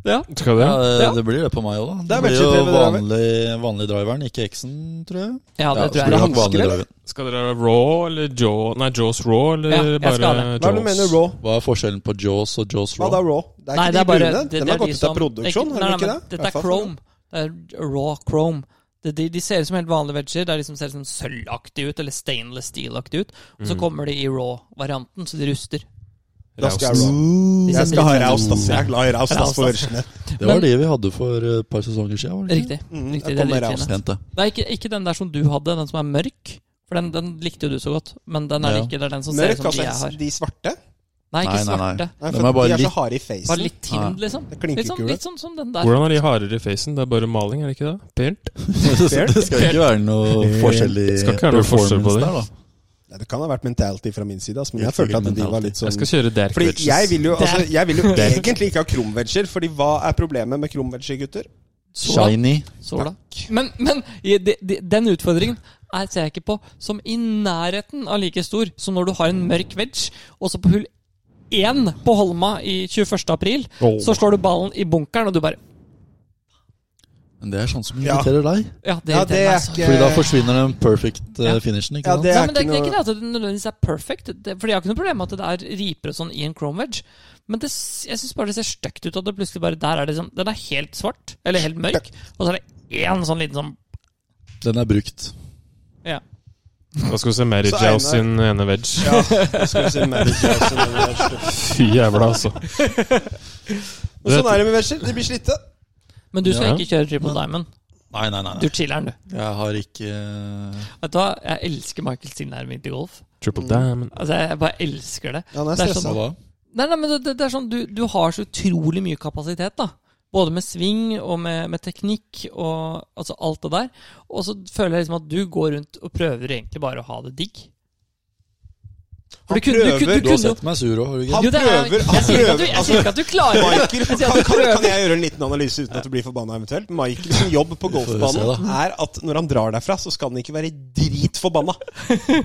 Ja. Skal du det? det, Ja. det blir det på meg òg, da. Det, Det er blir jo veldig trivelig, vanlig, vanlig driveren, ikke X-en, tror jeg. Ja, det tror Ja, så blir jeg. det Er det nok vanlig hansker, eller? driver. Skal dere ha Raw eller Jaw Nei, Jaws Raw eller Ja, jeg bare skal ha det. Hva er det du mener raw? Hva er forskjellen på Jaws og Jaws Hva da Raw? raw? Det er Nei, ikke det de er bare brune. Den det, det har er de gått ut som- av produksjon, har den ikke- nei, ikke nei, det? men Dette er Hvertfall chrome. Det er raw chrome. Det, de, de ser ut som helt vanlige vegger. Det er liksom, ser liksom sølvaktig ut, eller stainless steel-aktig ut. Og Mm. så kommer de i raw-varianten, så de ruster. Da skal Raust. jeg raw. De Jeg ser skal ha litt- raust, ass. Jeg er glad i raust, ass, på Raust, vørskene. Det var de vi hadde for et par sesonger siden. Var det ikke? Riktig. Mm, riktig jeg det er kommer litt raust. fine. Pent, det. Nei, ikke, ikke den der som du hadde, den som er mørk. For den, den likte jo du så godt. Men den er det Ja. ikke. Det er den sånn som ser ut Mørk, som de jeg altså. har. De svarte? Nei, ikke Nei, nei, nei. svarte. Nei, De for er bare de er så litt- harde i Bare facen. litt tynn, liksom. Det er Litt sånn, klinkekule. litt sånn som den der. Hvordan er de hardere i facen? Det er bare maling, er det ikke det? Pent? det skal ikke være noe forskjell i Skal ikke være noe forskjell på performance det. der, da. Nei, Det kan ha vært mentality fra min side, ass, men jeg Helt følte at de mentality. var litt sånn Jeg skal kjøre Derek Fordi Wedges. jeg vil jo, altså, Der. jeg vil jo egentlig ikke ha krumvegger, Fordi hva er problemet med krumvegger, gutter? Sola. Shiny. Sola. Men, men i- de, de, den utfordringen er, ser jeg ikke på som i nærheten av like stor som når du har en mørk wedge, og så på hull én på Holma i 21. april, Åh. så slår du ballen i bunkeren, og du bare Men det er sånn som Ja. irriterer deg. Ja, det Ja, det irriterer er meg så. ikke Fordi da forsvinner den perfect eh, Ja. finishen, ikke Ja, sant? det Nei, er men det, ikke er ikke noe det at det nødvendigvis er perfect, det, Fordi jeg har ikke noe problem med at det er riper og sånn i en chrome wedge. Men det, s- jeg syns bare det ser stygt ut at det plutselig bare der er det sånn Den er helt svart, eller helt mørk, og så er det én sånn liten sånn Den er brukt. Ja. Da skal du se Mary Så Jow Einar- sin ene wedge. Ja, skal vi se manager og sånn. Fy jævla, altså. Og sånn er det med wedger. De blir slitte. Men du skal Ja. ikke kjøre triple diamond. Nei, nei, nei. Du nei. chiller'n, du. Jeg har ikke eh, Vet du hva, jeg elsker Michaels tilnærming til golf. Triple Diamond. Altså, Jeg bare elsker det. Ja, han er Det er sånn- stressa. Hva da? Nei, nei, men det, det er sånn, du, du har så utrolig mye kapasitet, da. Både med sving og med, med teknikk og altså alt det der. Og så føler jeg liksom at du går rundt og prøver egentlig bare å ha det digg. For Han du kunne, du, kunne- prøver- du Du har kunne jo sett meg sur òg, har du ikke? Han Jo, det er- prøver, han Jeg sier ikke at du- prøver, altså, jeg sier ikke at du klarer det. Michael, Jeg kan, sier at du kan, prøver. kan jeg gjøre en liten analyse uten at du blir forbanna eventuelt? Michael sin jobb på får vi golfbanen se, er at når han drar derfra, så skal han ikke være dritforbanna.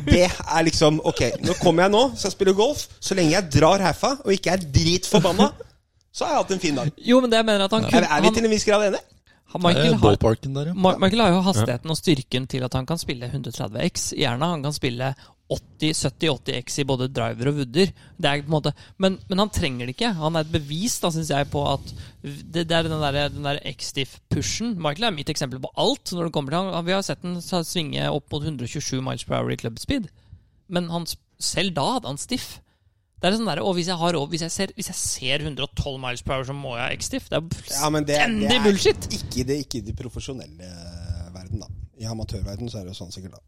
Det er liksom Ok, nå kommer jeg nå, skal spille golf. Så lenge jeg drar herfra og ikke er dritforbanna, så har jeg hatt en fin dag. Jo, men det jeg mener at han Er, kunne er vi han, til en viss grad enige? han, Det Michael er har Mm. Ballparken der, ja. Ma- Michael har jo hastigheten og styrken til at han kan spille 130X i hjerna. Han kan spille 70-80X i både driver og wooder. Det er på en måte, men, men han trenger det ikke. Han er et bevis da, synes jeg, på at det, det er den der, den der X-Diff-pushen. Michael er mitt eksempel på alt. når det kommer til han. Vi har sett den ta- svinge opp mot 127 miles per hour i club speed. Men han, s- selv da hadde han stiff. Det er sånn der, og hvis jeg, har, over- hvis, jeg ser, hvis jeg ser 112 miles per hour, så må jeg ha X-Diff. Det er Ja, men det, fullstendig det er bullshit! ikke det, ikke i de profesjonelle verden, da. I amatørverden så er det jo sånn sikkert, da.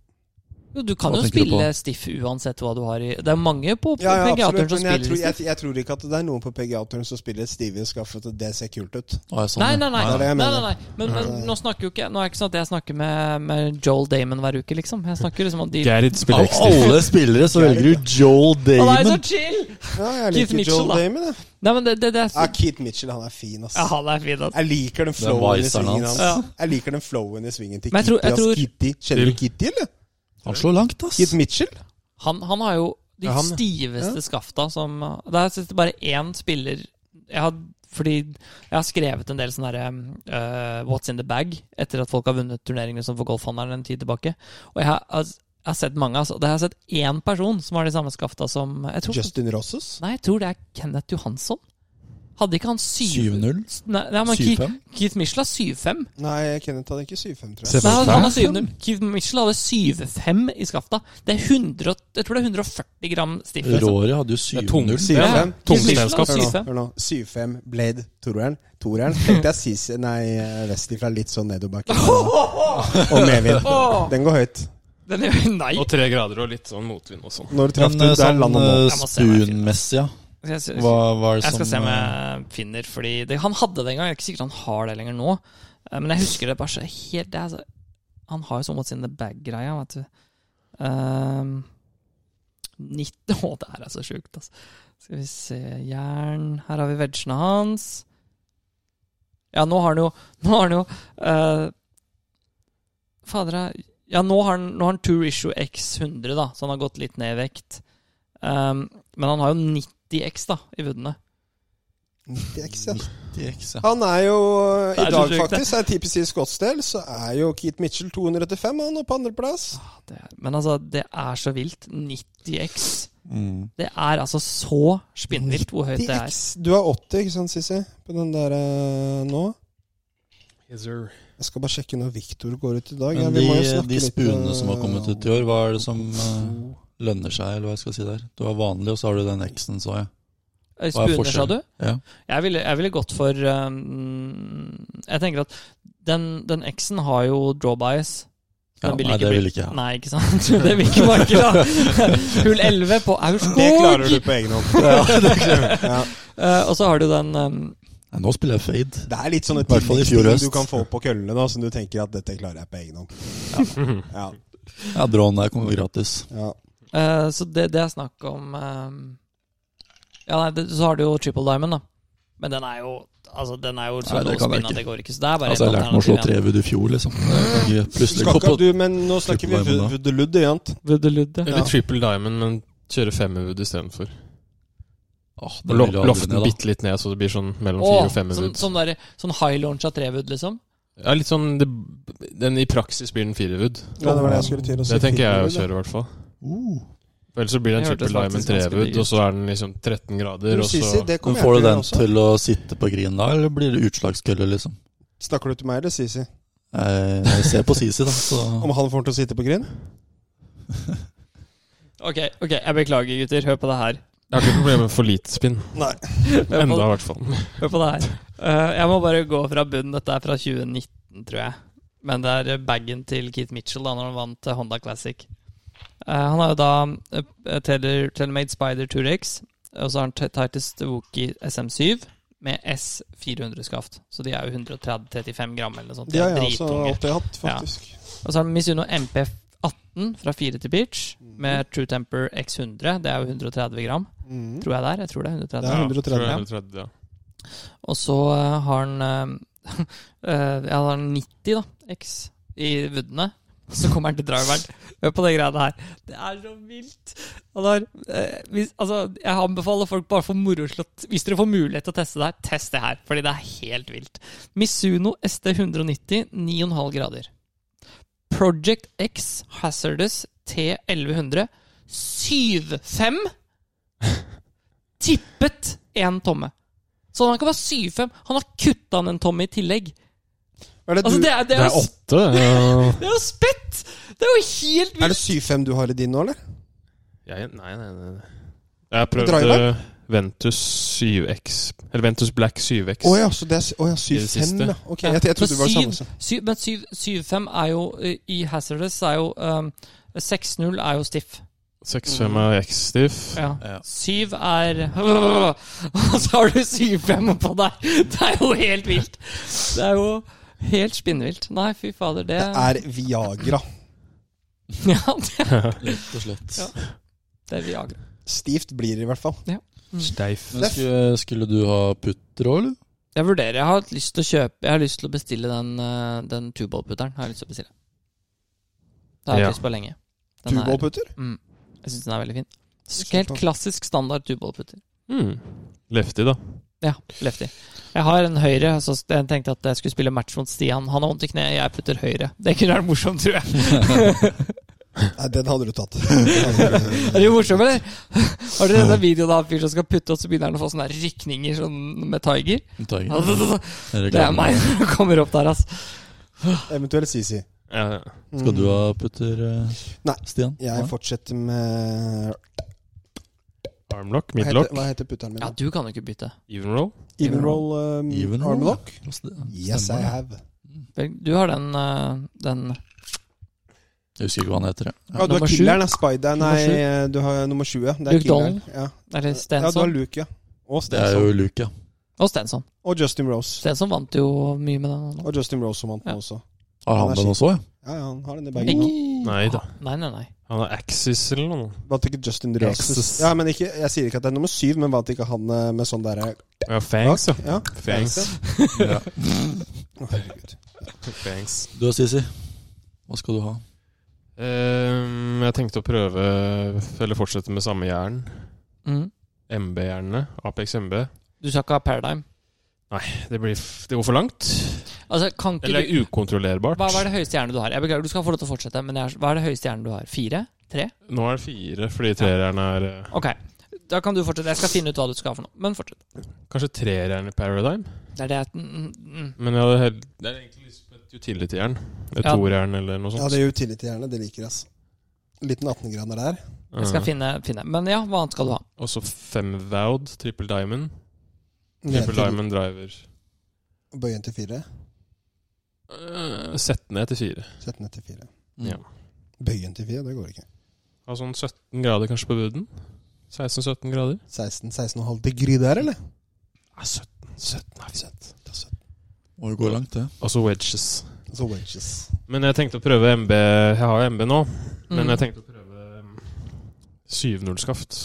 Jo, du kan Hva jo tenker du spille stiff uansett hva du har i Det er mange på Ja, ja, PGA-turen absolutt. som Men jeg spiller tror, stiff. jeg, jeg tror ikke at det er noen på PGA-turen som spiller stive i skaffet, og det ser kult ut. Å, jeg sånn, Nei, ja. nei, det nei. er det jeg nei, nei, mener. nei. Men, men nå snakker jo ikke Nå er det ikke sånn at jeg snakker med, med Joel Damon hver uke, liksom. Jeg snakker liksom om de Å, Gerrit spiller Av ekstra. alle spillere så velger du Joel nei, så Damon. chill! Ja, jeg Keith liker Mitchell, Joel da. Damon, jeg. Nei, men det, det, det er Ja, så, Keith Mitchell, han er fin, ass. Ja, han er fin, altså. ass. Jeg liker den flowen i viseren svingen hans. hans. Ja. Jeg liker den flowen i svingen til Men jeg Kitty. tror- jeg ass. tror- Kitty. Kjenner du Kitty, eller? Han slår langt, ass. Keith Mitchell? Han, han har jo de Ja, han, ja. stiveste skafta som Der sitter bare én spiller jeg har, Fordi jeg har skrevet en del sånne derre eh, What's in the bag etter at folk har vunnet turneringer som for golfhandleren en tid tilbake. Og jeg har, altså, jeg har sett mange, altså. Og Jeg har sett én person som har de samme skafta som jeg tror, Justin Rosses? Nei, jeg tror det er Kenneth Johansson. Hadde ikke han syv... 7-0. Nei, nei, men Keith, 7-5. Keith Mitchell har 7-5. Nei, Kenneth hadde ikke 7-5, tror Se på- jeg. Nei, han, Hæ? han har 7-0. Keith Mitchell hadde 7-5 i skafta. Det er 100, og- jeg tror det er 140 gram stiff. liksom. Rory hadde jo Det er tung- Ja, 7-0. Ja, Keith Mitchell Tungsteinskap. har Hør nå, 7-5. hør nå. 7-5, Blade, Toreren. Toreren tenkte jeg sis, nei, Westie fra litt sånn nedoverbakke. Og medvind. Den går høyt. Den er, nei! Og tre grader og litt sånn motvind og sånn. Når traff Men du eh, der, sånn landa nå? eh, Jeg må se meg i spoon-messig, ja. Jeg, jeg, Hva var det jeg som skal se om eh, jeg finner, fordi det, han hadde det en gang. Jeg er ikke sikker han har det lenger nå. Eh, Men jeg husker det bare så helt det er, så- Han har jo sånn What's in the bag-greia, vet du. Ehm, 19 Å, det her er så sjukt, altså. Skal vi se Jern Her har vi vegene hans. Ja, nå har han jo Nå har han jo eh, Fader, jeg- ja, nå har han, nå har han Tour Issue X100, da, så han har gått litt ned i vekt. Ehm, men han har jo 90 X da, i woodene. 90X, ja. 90X, eh, ja. Han er jo Det er I så dag, sjukt, det. faktisk, er typisk i Scottsdale, så er jo Keith Mitchell 235, han, og på andreplass. Det er, men altså, det er så vilt. 90X. Mm. Det er altså så spinnvilt hvor høyt det er. 90X. Du er 80, ikke sant, Sissy? På den der eh, nå. Jeg skal bare sjekke når Victor går ut i dag. Ja, Men vi må jo de, snakke de litt, spuene eh, som har kommet ut i år, hva er det som eh, lønner seg, eller hva jeg skal si der? Du har vanlig, og så har du den X-en, så jeg. Hva Spune, er sa du? forskjellen? Ja. Jeg ville, jeg ville gått for um, Jeg tenker at den, den X-en har jo draw bias. Ja, Den nei, det bli- vil ikke jeg ha. Nei, ikke sant? Det vil ikke Markel ha. Hull 11 på Det Aurskog. klarer du på egen hånd. Eh, og så har du den um, Nei, nå spiller jeg fade. Det er litt sånne hvert fall i tilleggsting fjor høst. du kan få på køllene, da, som du tenker at dette klarer jeg på egen hånd. Ja. Ja, Drawn der kommer gratis. Ja, eh, Så det, det er snakk om um, Ja, nei, det, så har du jo Triple Diamond, da. Men den er jo Altså, den er jo så Nei, det kan jeg låsspinn at ikke. det går ikke. Så det er bare Altså, et jeg lærte meg å slå alternativ igjen. trevud i fjor, liksom. Jeg kan ikke plutselig Skal gå ikke på du, men nå snakker vi Triple Diamond, da. Vudelud, ikke sant? Vudelud, ja. Eller Triple Diamond, men kjøre femmerwood istedenfor. Åh, det Og lo- vil jeg aldri lofte ned, den da. bitte litt ned, så det blir sånn mellom Åh, fire og sånn, femmerwood. sånn, der, sånn high launch av trevud, liksom? Ja, litt sånn det, Den i praksis blir den firewood. Ja, det var det jeg skulle til å si. Det tenker jeg å Firewood, ja. kjøre, i hvert fall. Uh, For Ellers så blir det en Det hørtes triple diamond faktisk ganske digg trewood, ut. og så er den liksom 13 grader, Du, og Sissy, så det men kommer jeg får du til å gjøre den også. til å sitte på grinen da, eller blir det utslagskølle, liksom? Snakker du til meg eller Sisi? Jeg, jeg ser på Sisi, da, så Om han får den til å sitte på grind? Ok, ok, jeg beklager, gutter. Hør på det her. Jeg har ikke problemer med for lite spinn. Nei. Enda, i hvert fall. Hør på det her. Eh, jeg må bare gå fra bunnen. Dette er fra 2019, tror jeg. Men det er eh, bagen til Keith Mitchell da når han vant eh, Honda Classic. Eh, han har jo da eh, Taylor, Tailormade Spider 2X, og så har han T- Titus Woki SM7 med S400-skaft. Så de er jo 135 gram eller noe sånt. De De har er jeg også dritunge. alltid hatt, faktisk. Og så har han Mizuno MP18 fra 4 til pitch med True Temper X100. Det er jo 130 gram, Mm. tror jeg det er. Jeg tror det er 130 Det er Ja, 130, tror jeg ja. 130, ja. Og så eh, har han eh, eh, Ja, han har 90 da, X i vuddene. Så kommer han til driveren. Hør på det greiene her. Det er så vilt! Han har, eh, hvis, altså, jeg anbefaler folk bare for moro skyld at- Hvis dere får mulighet til å teste det her, test det her. Fordi det er helt vilt. Misuno ST 190 9,5 grader. Project X Hazardous T1100 7,5 tippet én tomme. Så han kan være 7,5. Han har kutta han en tomme i tillegg. Er det, Altså, du, det er, det Det er, er jo, åtte. ja. det er jo spett! Det er jo helt er det vilt. 7-5 du har i din nå, eller? Jeg, nei, nei, nei. nei. Jeg har prøvd Driver? eh, Ventus 7X. Eller Ventus Black 7X. Å ja, så det er s- å ja, I det siste. 7-5, ja. Ok, jeg, jeg trodde det var det samme. som- Syv- Men 7,5 er jo eh, I Hazardous er jo um, 6,0 er jo stiff. 6-5 er X-stiff. Ja. Ja. 7 er Og så har du 7,5 oppå der! Det er jo helt vilt! Det er jo helt spinnvilt. Nei, fy fader, det Det er Viagra. Ja, det, rett og slett. Ja. det er Viagra. Stivt blir det i hvert fall. Steif. Men skulle, skulle du ha putter òg, eller? Jeg vurderer. Jeg har hatt lyst til å kjøpe Jeg har lyst til å bestille den, eh, den tubeballputteren. Har jeg lyst til å bestille. Det har jeg Ja. hatt lyst på lenge. Den er- Tuballputter? Mm, jeg syns den er veldig fin. Så Helt Supert. klassisk standard tubeballputter. Mm. Lefty, da. Ja, lefty. Jeg har en høyre, så jeg tenkte at jeg skulle spille match mot Stian. Han har vondt i kneet, jeg putter høyre. Det kunne vært morsomt, tror jeg. Nei, den hadde du tatt. Nei, Er det morsomt, eller? Har dere denne videoen av en fyr som skal putte, og så begynner han å få sånne her rykninger sånn med Tiger? Det er meg når han kommer opp der, ass. Eventuelt Sisi. Ja, ja. Mm. Skal du ha putter, eh, Nei. Stian? Jeg fortsetter med Armlock, Hva heter, midlock, hva heter putteren min? Ja, da? du kan jo ikke bytte. even roll. Even roll um, Even roll, armlock? ja. Stemmer Yes, I det. have. Vel, Du har den, eh, den Jeg husker ikke hva han heter. jeg. Ja, du har Nummer sju. killeren, ja. Spider Nei, Nummer sju. eh, du har nummer sju, ja. Det er Luke killeren. Ja. Eller ja, du har Stenson. Luke, ja. Og Det er sånn. Stenson. jo Luke, ja. Og Stenson. Og Justin Rose. Stenson vant jo mye med den. nå. Og Justin Rose som vant Ja. den også. Har han Han er den også, ja? Ja, ja, han har den i Ikke- bagen nå. Nei da. Nei, nei, nei. Han har Axis eller noe. Vant ikke Justin Rose Jesus. Ja, men ikke, Jeg sier ikke at det er nummer syv, men vant ikke han eh, med sånn derre Ja, Fangs, ja. Ja. Fangs. ja. Å, herregud. Fangs. Du og Sisi, hva skal du ha? Ehm, jeg tenkte å prøve Eller fortsette med samme jern. Mm. MB-jernet. Apex MB. Du skal ikke ha Paradigm. Det, blir, f- det går for langt. Altså, kan ikke Eller du, ukontrollerbart. hva, hva er det høyeste hjernet du har? Jeg beklager, du skal få lov til å fortsette, men jeg, er- hva er det høyeste hjernet du har? Fire? Tre? Nå er det fire, fordi treeren er eh, Ok, da kan du fortsette. Jeg skal finne ut hva du skal ha for noe. Men fortsett. Kanskje treeren i Paradigm? Det er det jeg mm, mm, Men jeg hadde hel- det er egentlig lyst på et utility-jern. Et Ja. toerjern eller noe Ja, sånt. det er utility-hjerne. Det liker jeg. ass. Liten 18-grader der. Jeg skal finne, finne. Men ja, hva annet skal du ha? Eh, Og så femvoud, triple diamond. Ned Triple til- diamond driver. Bøye den til fire. Eh, Sett ned til fire. Sett den ned til fire. Mm. Mm. Ja. Bøye den til fire, det går ikke. Ha sånn 17 grader kanskje på bunnen. 16-17 grader. 16, 16,5 degree der, eller? Nei, 17. 17 er fint. Det er søtt. Må jo gå langt, det. Og så wedges. Så wedges. Men jeg tenkte å prøve MB. Jeg har jo MB nå, men Mm. jeg tenkte å prøve um, 7-0-skaft.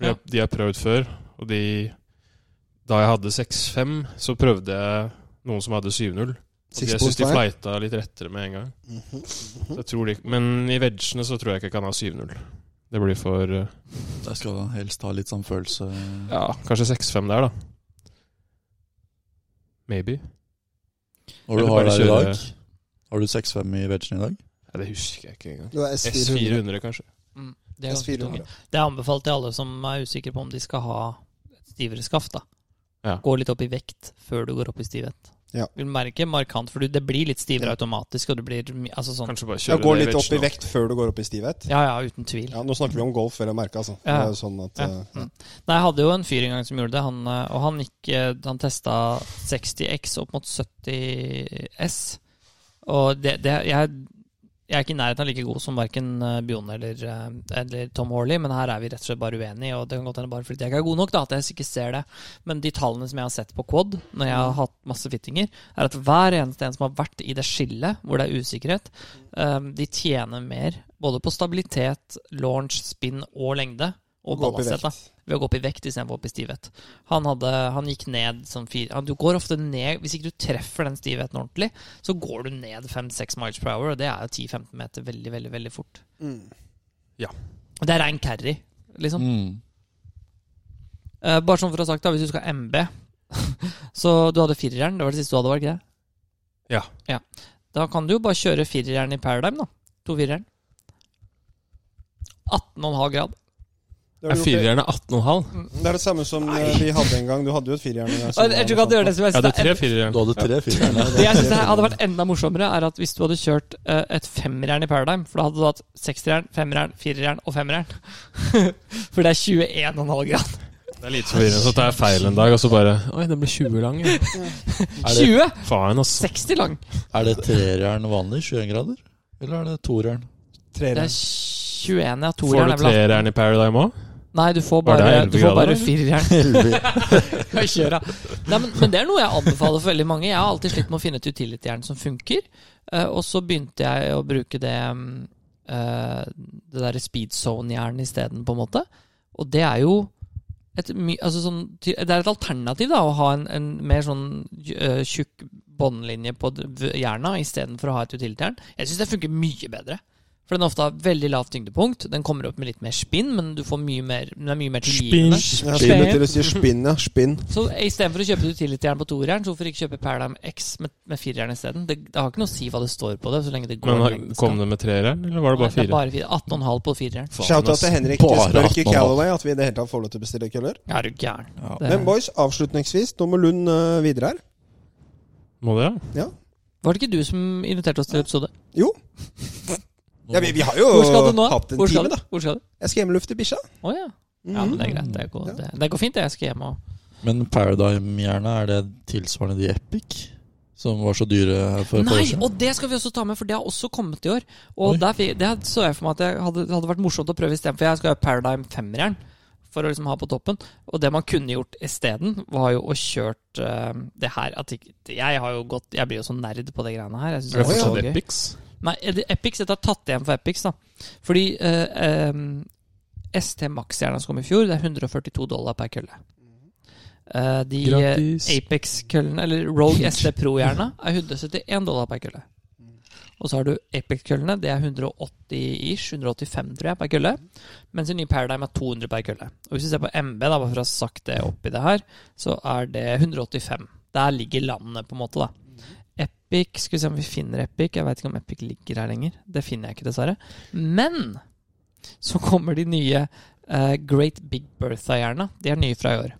De, Ja. har- de har jeg prøvd før, og de Da jeg hadde 6-5, så prøvde jeg noen som hadde 7-0. Og de- Jeg syns de Sixposteier. fleita litt rettere med en gang. Mhm. Så jeg tror de, men i vegene så tror jeg ikke jeg kan ha 7-0. Det blir for uh, Der skal du helst ha litt sånn følelse. ja, kanskje 6-5 der, da. Maybe. Og du Eller har bare der i kjøre- dag. Har du 6-5 i vegen i dag? Ja, det husker jeg ikke engang. Du har S400. S400, kanskje. Mm, det, er ganske tungt. S400. det er anbefalt til alle som er usikre på om de skal ha et stivere skaft. da. Ja. Gå litt opp i vekt før du går opp i stivhet. Ja. Du merker markant, for du- det blir litt stivere automatisk. og det blir my- altså sånn, Kanskje bare Ja, kjøre gå det litt opp i vegene. vekt før du går opp i stivhet. Ja, ja, uten tvil. Ja, Nå snakker vi om golf, vel å merke. Altså. Det Ja. er jo sånn at, Ja. eh, ja. Mm. Nei, Jeg hadde jo en fyr en gang som gjorde det, han, eh, og han, gikk, eh, han testa 60X opp mot 70S. Og det, det jeg, jeg er ikke i nærheten av like god som verken Bion eller, eh, eller Tom Horley, men her er vi rett og slett bare uenige, og det kan godt hende bare fordi jeg ikke er god nok, da, at jeg ikke ser det. Men de tallene som jeg har sett på Quad, når jeg har hatt masse fittinger, er at hver eneste en som har vært i det skillet hvor det er usikkerhet, eh, de tjener mer både på stabilitet, launch, spinn og lengde. Og Gå opp i ballast, da vekt. ved å gå opp i vekt istedenfor opp i stivhet. Han, hadde, han gikk ned som fire han, Du går ofte ned Hvis ikke du treffer den stivheten ordentlig, så går du ned 5-6 miles per hour, og det er jo 10-15 meter veldig, veldig veldig fort. Mm. Og Det er rein carry, liksom. Mm. Mm. Eh, bare sånn for å ha sagt, da, hvis du skal ha MB Så du hadde fireren, det var det siste du hadde, var det ikke det? Ja. Da kan du jo bare kjøre fireren i Paradigm, da. To fireren. 18,5 grad. Det, Er har du gjort firejern er 18,5? det. det er det samme som eh, vi hadde en gang. Du hadde jo et firehjerne. en gang som Og Jeg tror ikke at du gjør det som jeg Ja, synes det er er tre firejern. Du hadde tre firere. Det jeg synes hadde vært enda morsommere, er at hvis du hadde kjørt eh, et femmerjern i Paradigm, for da hadde du hatt seksterjern, femmerjern, firerjern og femmerjern. for det er 21,5 grad. Det er lite forvirrende. Så tar jeg feil en dag, og så bare Oi, den ble 20 lang. ja. Er det, 20! Faen, altså. 60 lang. er det trerjern vanlig? 21 grader? Eller er det torjern? Det Treeren. er 21, ja. Får Torjern du er vel treeren i Paradigm òg? Nei, du får Var det bare, elleve du får grader, bare eller? firerjern. Helvete. Nei, kjør, da. Nei, men, men det er noe jeg anbefaler for veldig mange. Jeg har alltid slitt med å finne et utility-jern som funker. Eh, og så begynte jeg å bruke det mm, eh, Det derre speed zone-jernet isteden, på en måte. Og det er jo et, my, altså sånn, ty- det er et alternativ da å ha en, en mer sånn eh, tjukk båndlinje på d- v- jerna istedenfor å ha et utility-jern. Jeg syns det funker mye bedre. For den ofte har veldig lavt tyngdepunkt. Den kommer opp med litt mer spinn, men du får mye mer, den er mye mer tilgivende. Ja, spinn til å si spinn, ja. Spinn. Så istedenfor å kjøpe utility-jern på toerjern, så hvorfor ikke kjøpe Paradigm X med, med firejern isteden? Det, det har ikke noe å si hva det står på det, så lenge det går Men har- lengden skal. kom det med treeren, eller var det bare Nei, det er fire? bare fire. 18,5 på firejern. Faen, Shout-out ass. til Henrik Bare Spørke 18,5. Callaway at vi i det hele tatt får lov til å bestille køller. Ja, Er du gæren. Ja. Det- Men boys, avslutningsvis, nå må Lund eh, videre her. Må det, ja? Var det ikke du som inviterte oss til episode? Jo. Ja, vi, vi har jo Hvor skal du nå? hatt en Hvor skal time, du? da. Hvor skal du? Jeg skal hjemmelufte bikkja. Å ja. ja. Men det er Mhm. greit. Det går, Ja. det, det går fint, det. Jeg skal hjem og Men Paradigm-jernet, er det tilsvarende de Epic? Som var så dyre for et par år Nei, siden? og det skal vi også ta med, for det har også kommet i år. Og Oi. der, fi- det så jeg for meg at jeg hadde, det hadde vært morsomt å prøve istedenfor. Jeg skal ha Paradigm 5-jern for å liksom ha på toppen. Og det man kunne gjort isteden, var jo å kjørt eh, det her at ikke, Jeg har jo gått Jeg blir jo så nerd på de greiene her. Jeg synes Er det det er fortsatt så gøy. Epics? Nei, er det Epix, dette er tatt igjen for Epix, da. Fordi eh, eh, ST Max-jerna som kom i fjor, det er 142 dollar per kølle. Eh, de Gratis. Apex-køllene, eller Rogue ST Pro-jerna, er 171 dollar per kølle. Og så har du Apex-køllene. Det er 180-ish, 185 tror jeg, per kølle. Mens i nye Paradigm er 200 per kølle. Og hvis vi ser på MB, da, bare for å ha sagt det oppi det her, så er det 185. Der ligger landene, på en måte, da. Epic Skal vi se om vi finner Epic. Jeg veit ikke om Epic ligger her lenger. Det finner jeg ikke, dessverre. Men så kommer de nye eh, Great Big Bertha-jerna. De er nye fra i år.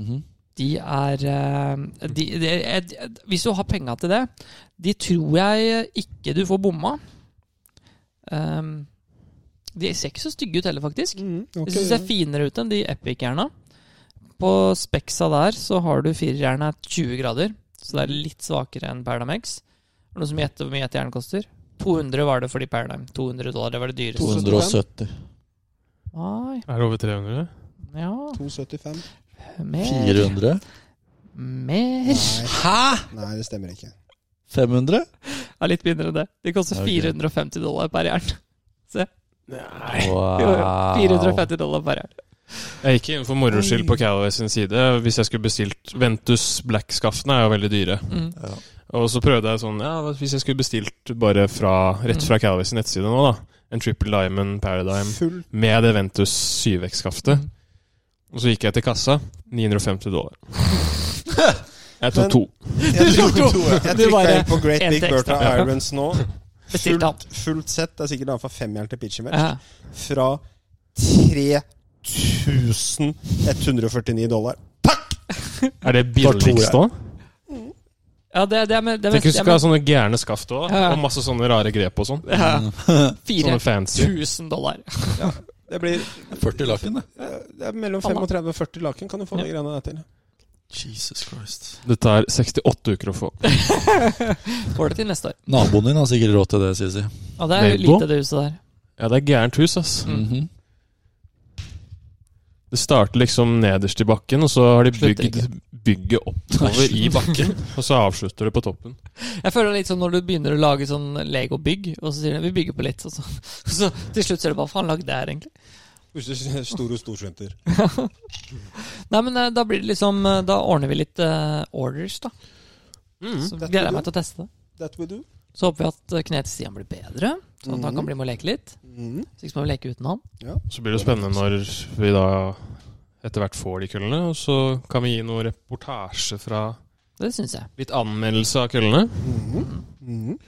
Mhm. De er eh, de, de, eh, Hvis du har penga til det De tror jeg ikke du får bomma. Ehm, de ser ikke så stygge ut heller, faktisk. Mm, Jeg ok, synes de ser ja. finere ut enn de Epic-jerna. På Spexa der så har du firerjerna 20 grader, så det er litt svakere enn Paradigmex. Er det Noen som gjetter hvor mye et jern koster? 200 var det for de Paradigm. 200 dollar, det var det dyreste. 270. Nei, Er det over 300? ja 275? Mer. 400? Mer. Nei, Hæ?! nei, det stemmer ikke. 500? Ja, litt mindre enn det. De koster Ok. 450 dollar per jern. Nei. Jo, jo. Wow. 450 dollar per jern. Jeg gikk inn for moro skyld på Callaway sin side. Hvis jeg skulle bestilt Ventus Black-skaftene er jo veldig dyre. Mm. Ja. Og så prøvde jeg sånn Ja, hvis jeg skulle bestilt bare fra, rett fra Callaway sin nettside nå, da. En Triple Diamond Paradigm Full med det Ventus 7X-skaftet. Og så gikk jeg til kassa. 950 dollar. Jeg tok Men- to. Jeg tok to. trykka Du bare- inn på Great en Big til Bertha ekstra. Irons nå. Bestilte han. Fullt, fullt sett. Det er sikkert han fra femjern til pitcher match. Ja. Fra 3149 dollar. Er det var to, billigst jeg. nå? Ja, det, det er med, det er Tenk med, hvis du skal ha sånne gærne skaft òg. Ja, ja. Og masse sånne rare grep og sånn. det er med ja. Sånne 4000 fancy. dollar. Det blir eh, 40 lakken, det. det er mellom 35 og 40 laken kan du få de greiene der til. Jesus Christ. Det tar 68 uker å få. Får det til neste år. Naboen din har sikkert råd til det, Sisi. Ja, det er jo Nebo? lite det huset der. Ja, det er gærent hus, ass. Mhm. Det starter liksom nederst i bakken, og så har de Slutter bygd bygget oppover i bakken. Og så avslutter det på toppen. Jeg føler litt sånn når du begynner å lage sånn Lego-bygg, og så sier de vi bygger på litt, og så, og så til slutt ser du hva faen lagde jeg her, egentlig? Store storskjønter. Nei, men eh, da blir det liksom eh, Da ordner vi litt eh, orders, da. Så Dette gleder vil jeg meg til å teste det. That we do. Så håper vi at eh, kneet til Stian blir bedre, sånn at han kan bli med og leke litt. Mm. Så ikke så må vi leke uten han. Så blir det spennende når vi da etter hvert får de køllene, og så kan vi gi noe reportasje fra Det syns jeg. litt anmeldelse av køllene. Mhm. Mhm.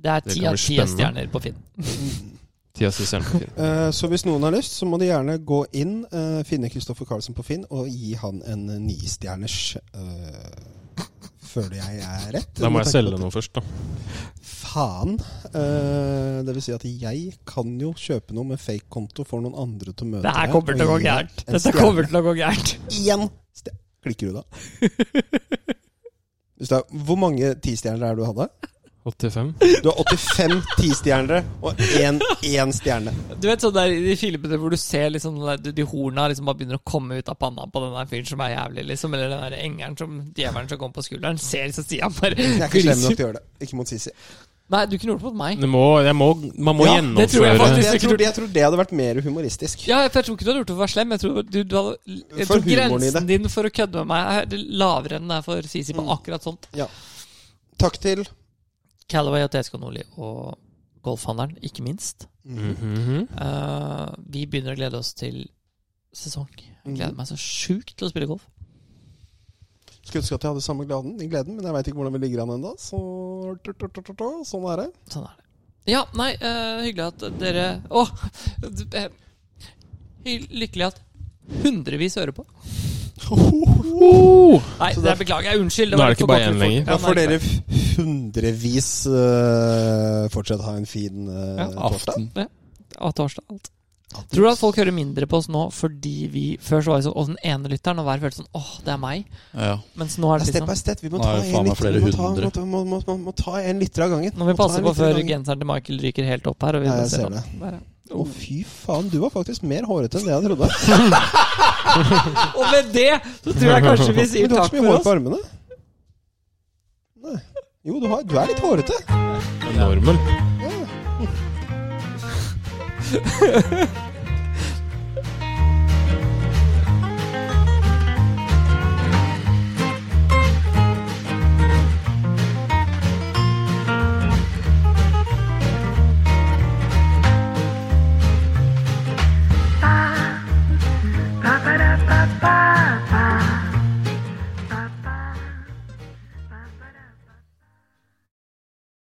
Det er Det ti kan av bli ti spennende. stjerner på Finn. Tia Sisselen. Eh, Så hvis noen har lyst, så må de gjerne gå inn, eh, finne Kristoffer Carlsen på Finn og gi han en eh, nistjerners eh, Føler jeg er rett? Da må jeg tenke på selge at- noe først, da. Faen. Eh, det vil si at jeg kan jo kjøpe noe med fake konto for noen andre til å møte Det her kommer til å gå gærent. Dette kommer til å gå gærent. Igjen! Ste- Klikker du da? Hvis det er- Hvor mange tistjernere er det du hadde? 85. Du har 85 tistjernere og én én stjerne. Du vet sånn der i de filmene hvor du ser liksom den der- de horna liksom bare begynner å komme ut av panna på den der fyren som er jævlig, liksom. Eller den der engelen som djevelen som kommer på skulderen. Ser liksom Stian bare Jeg er ikke slem nok til å gjøre det. Ikke mot Sisi. Nei, du kunne gjort det mot meg. Det må, jeg må, man må Ja, det tror jeg gjennomføre faktisk. Jeg tror, jeg tror det hadde vært mer humoristisk. Ja, for jeg tror ikke du hadde gjort det for å være slem. Jeg tror, du, du hadde, jeg For tror humoren i grensen din for å kødde med meg er lavere enn det er for Sisi Mm. på akkurat sånt. Takk til Callaway og TSK Nordli og golfhandleren, ikke minst. Mhm. Eh, vi begynner å glede oss til sesong. Jeg gleder Mhm. meg så sjukt til å spille golf. Skulle ønske at jeg hadde samme gleden, gleden men jeg veit ikke hvordan vi ligger an ennå. Så sånn er det. Sånn er det. Ja, nei, eh, hyggelig at dere Å! d- eh, hy- lykkelig at hundrevis hører på. Nei, Så det det- beklager jeg. Unnskyld. Nå var er det ikke litt for bare kort én for- lenger. Ja, Ja, nå er for det dere hundrevis øh, fortsatt ha en fin øh, Ja, torsdag. Aften. bare- Ja, torsdag. Alt. Tror du at folk hører mindre på oss nå fordi vi Før så var det sånn Å, den ene lytteren, og hver følte sånn Åh, det er meg. Ja. Mens nå er Det er det litt step by sånn step. Vi må Nå ta er det faen en meg liter, flere vi må ta, hundre. må, ta- må, må, må, må ta en liter av gangen. Nå må vi Må ta passe en liter på av før gangen. genseren til Michael ryker helt opp her. Og vi Ja, jeg må se sånn. ser det. Der, ja. Å, fy faen. Du var faktisk mer hårete enn det jeg trodde. Og med det så tror jeg kanskje vi sier Men du har takk ikke så mye hår for på oss. armene. Nei. Jo, du, har, du er litt hårete. Normen.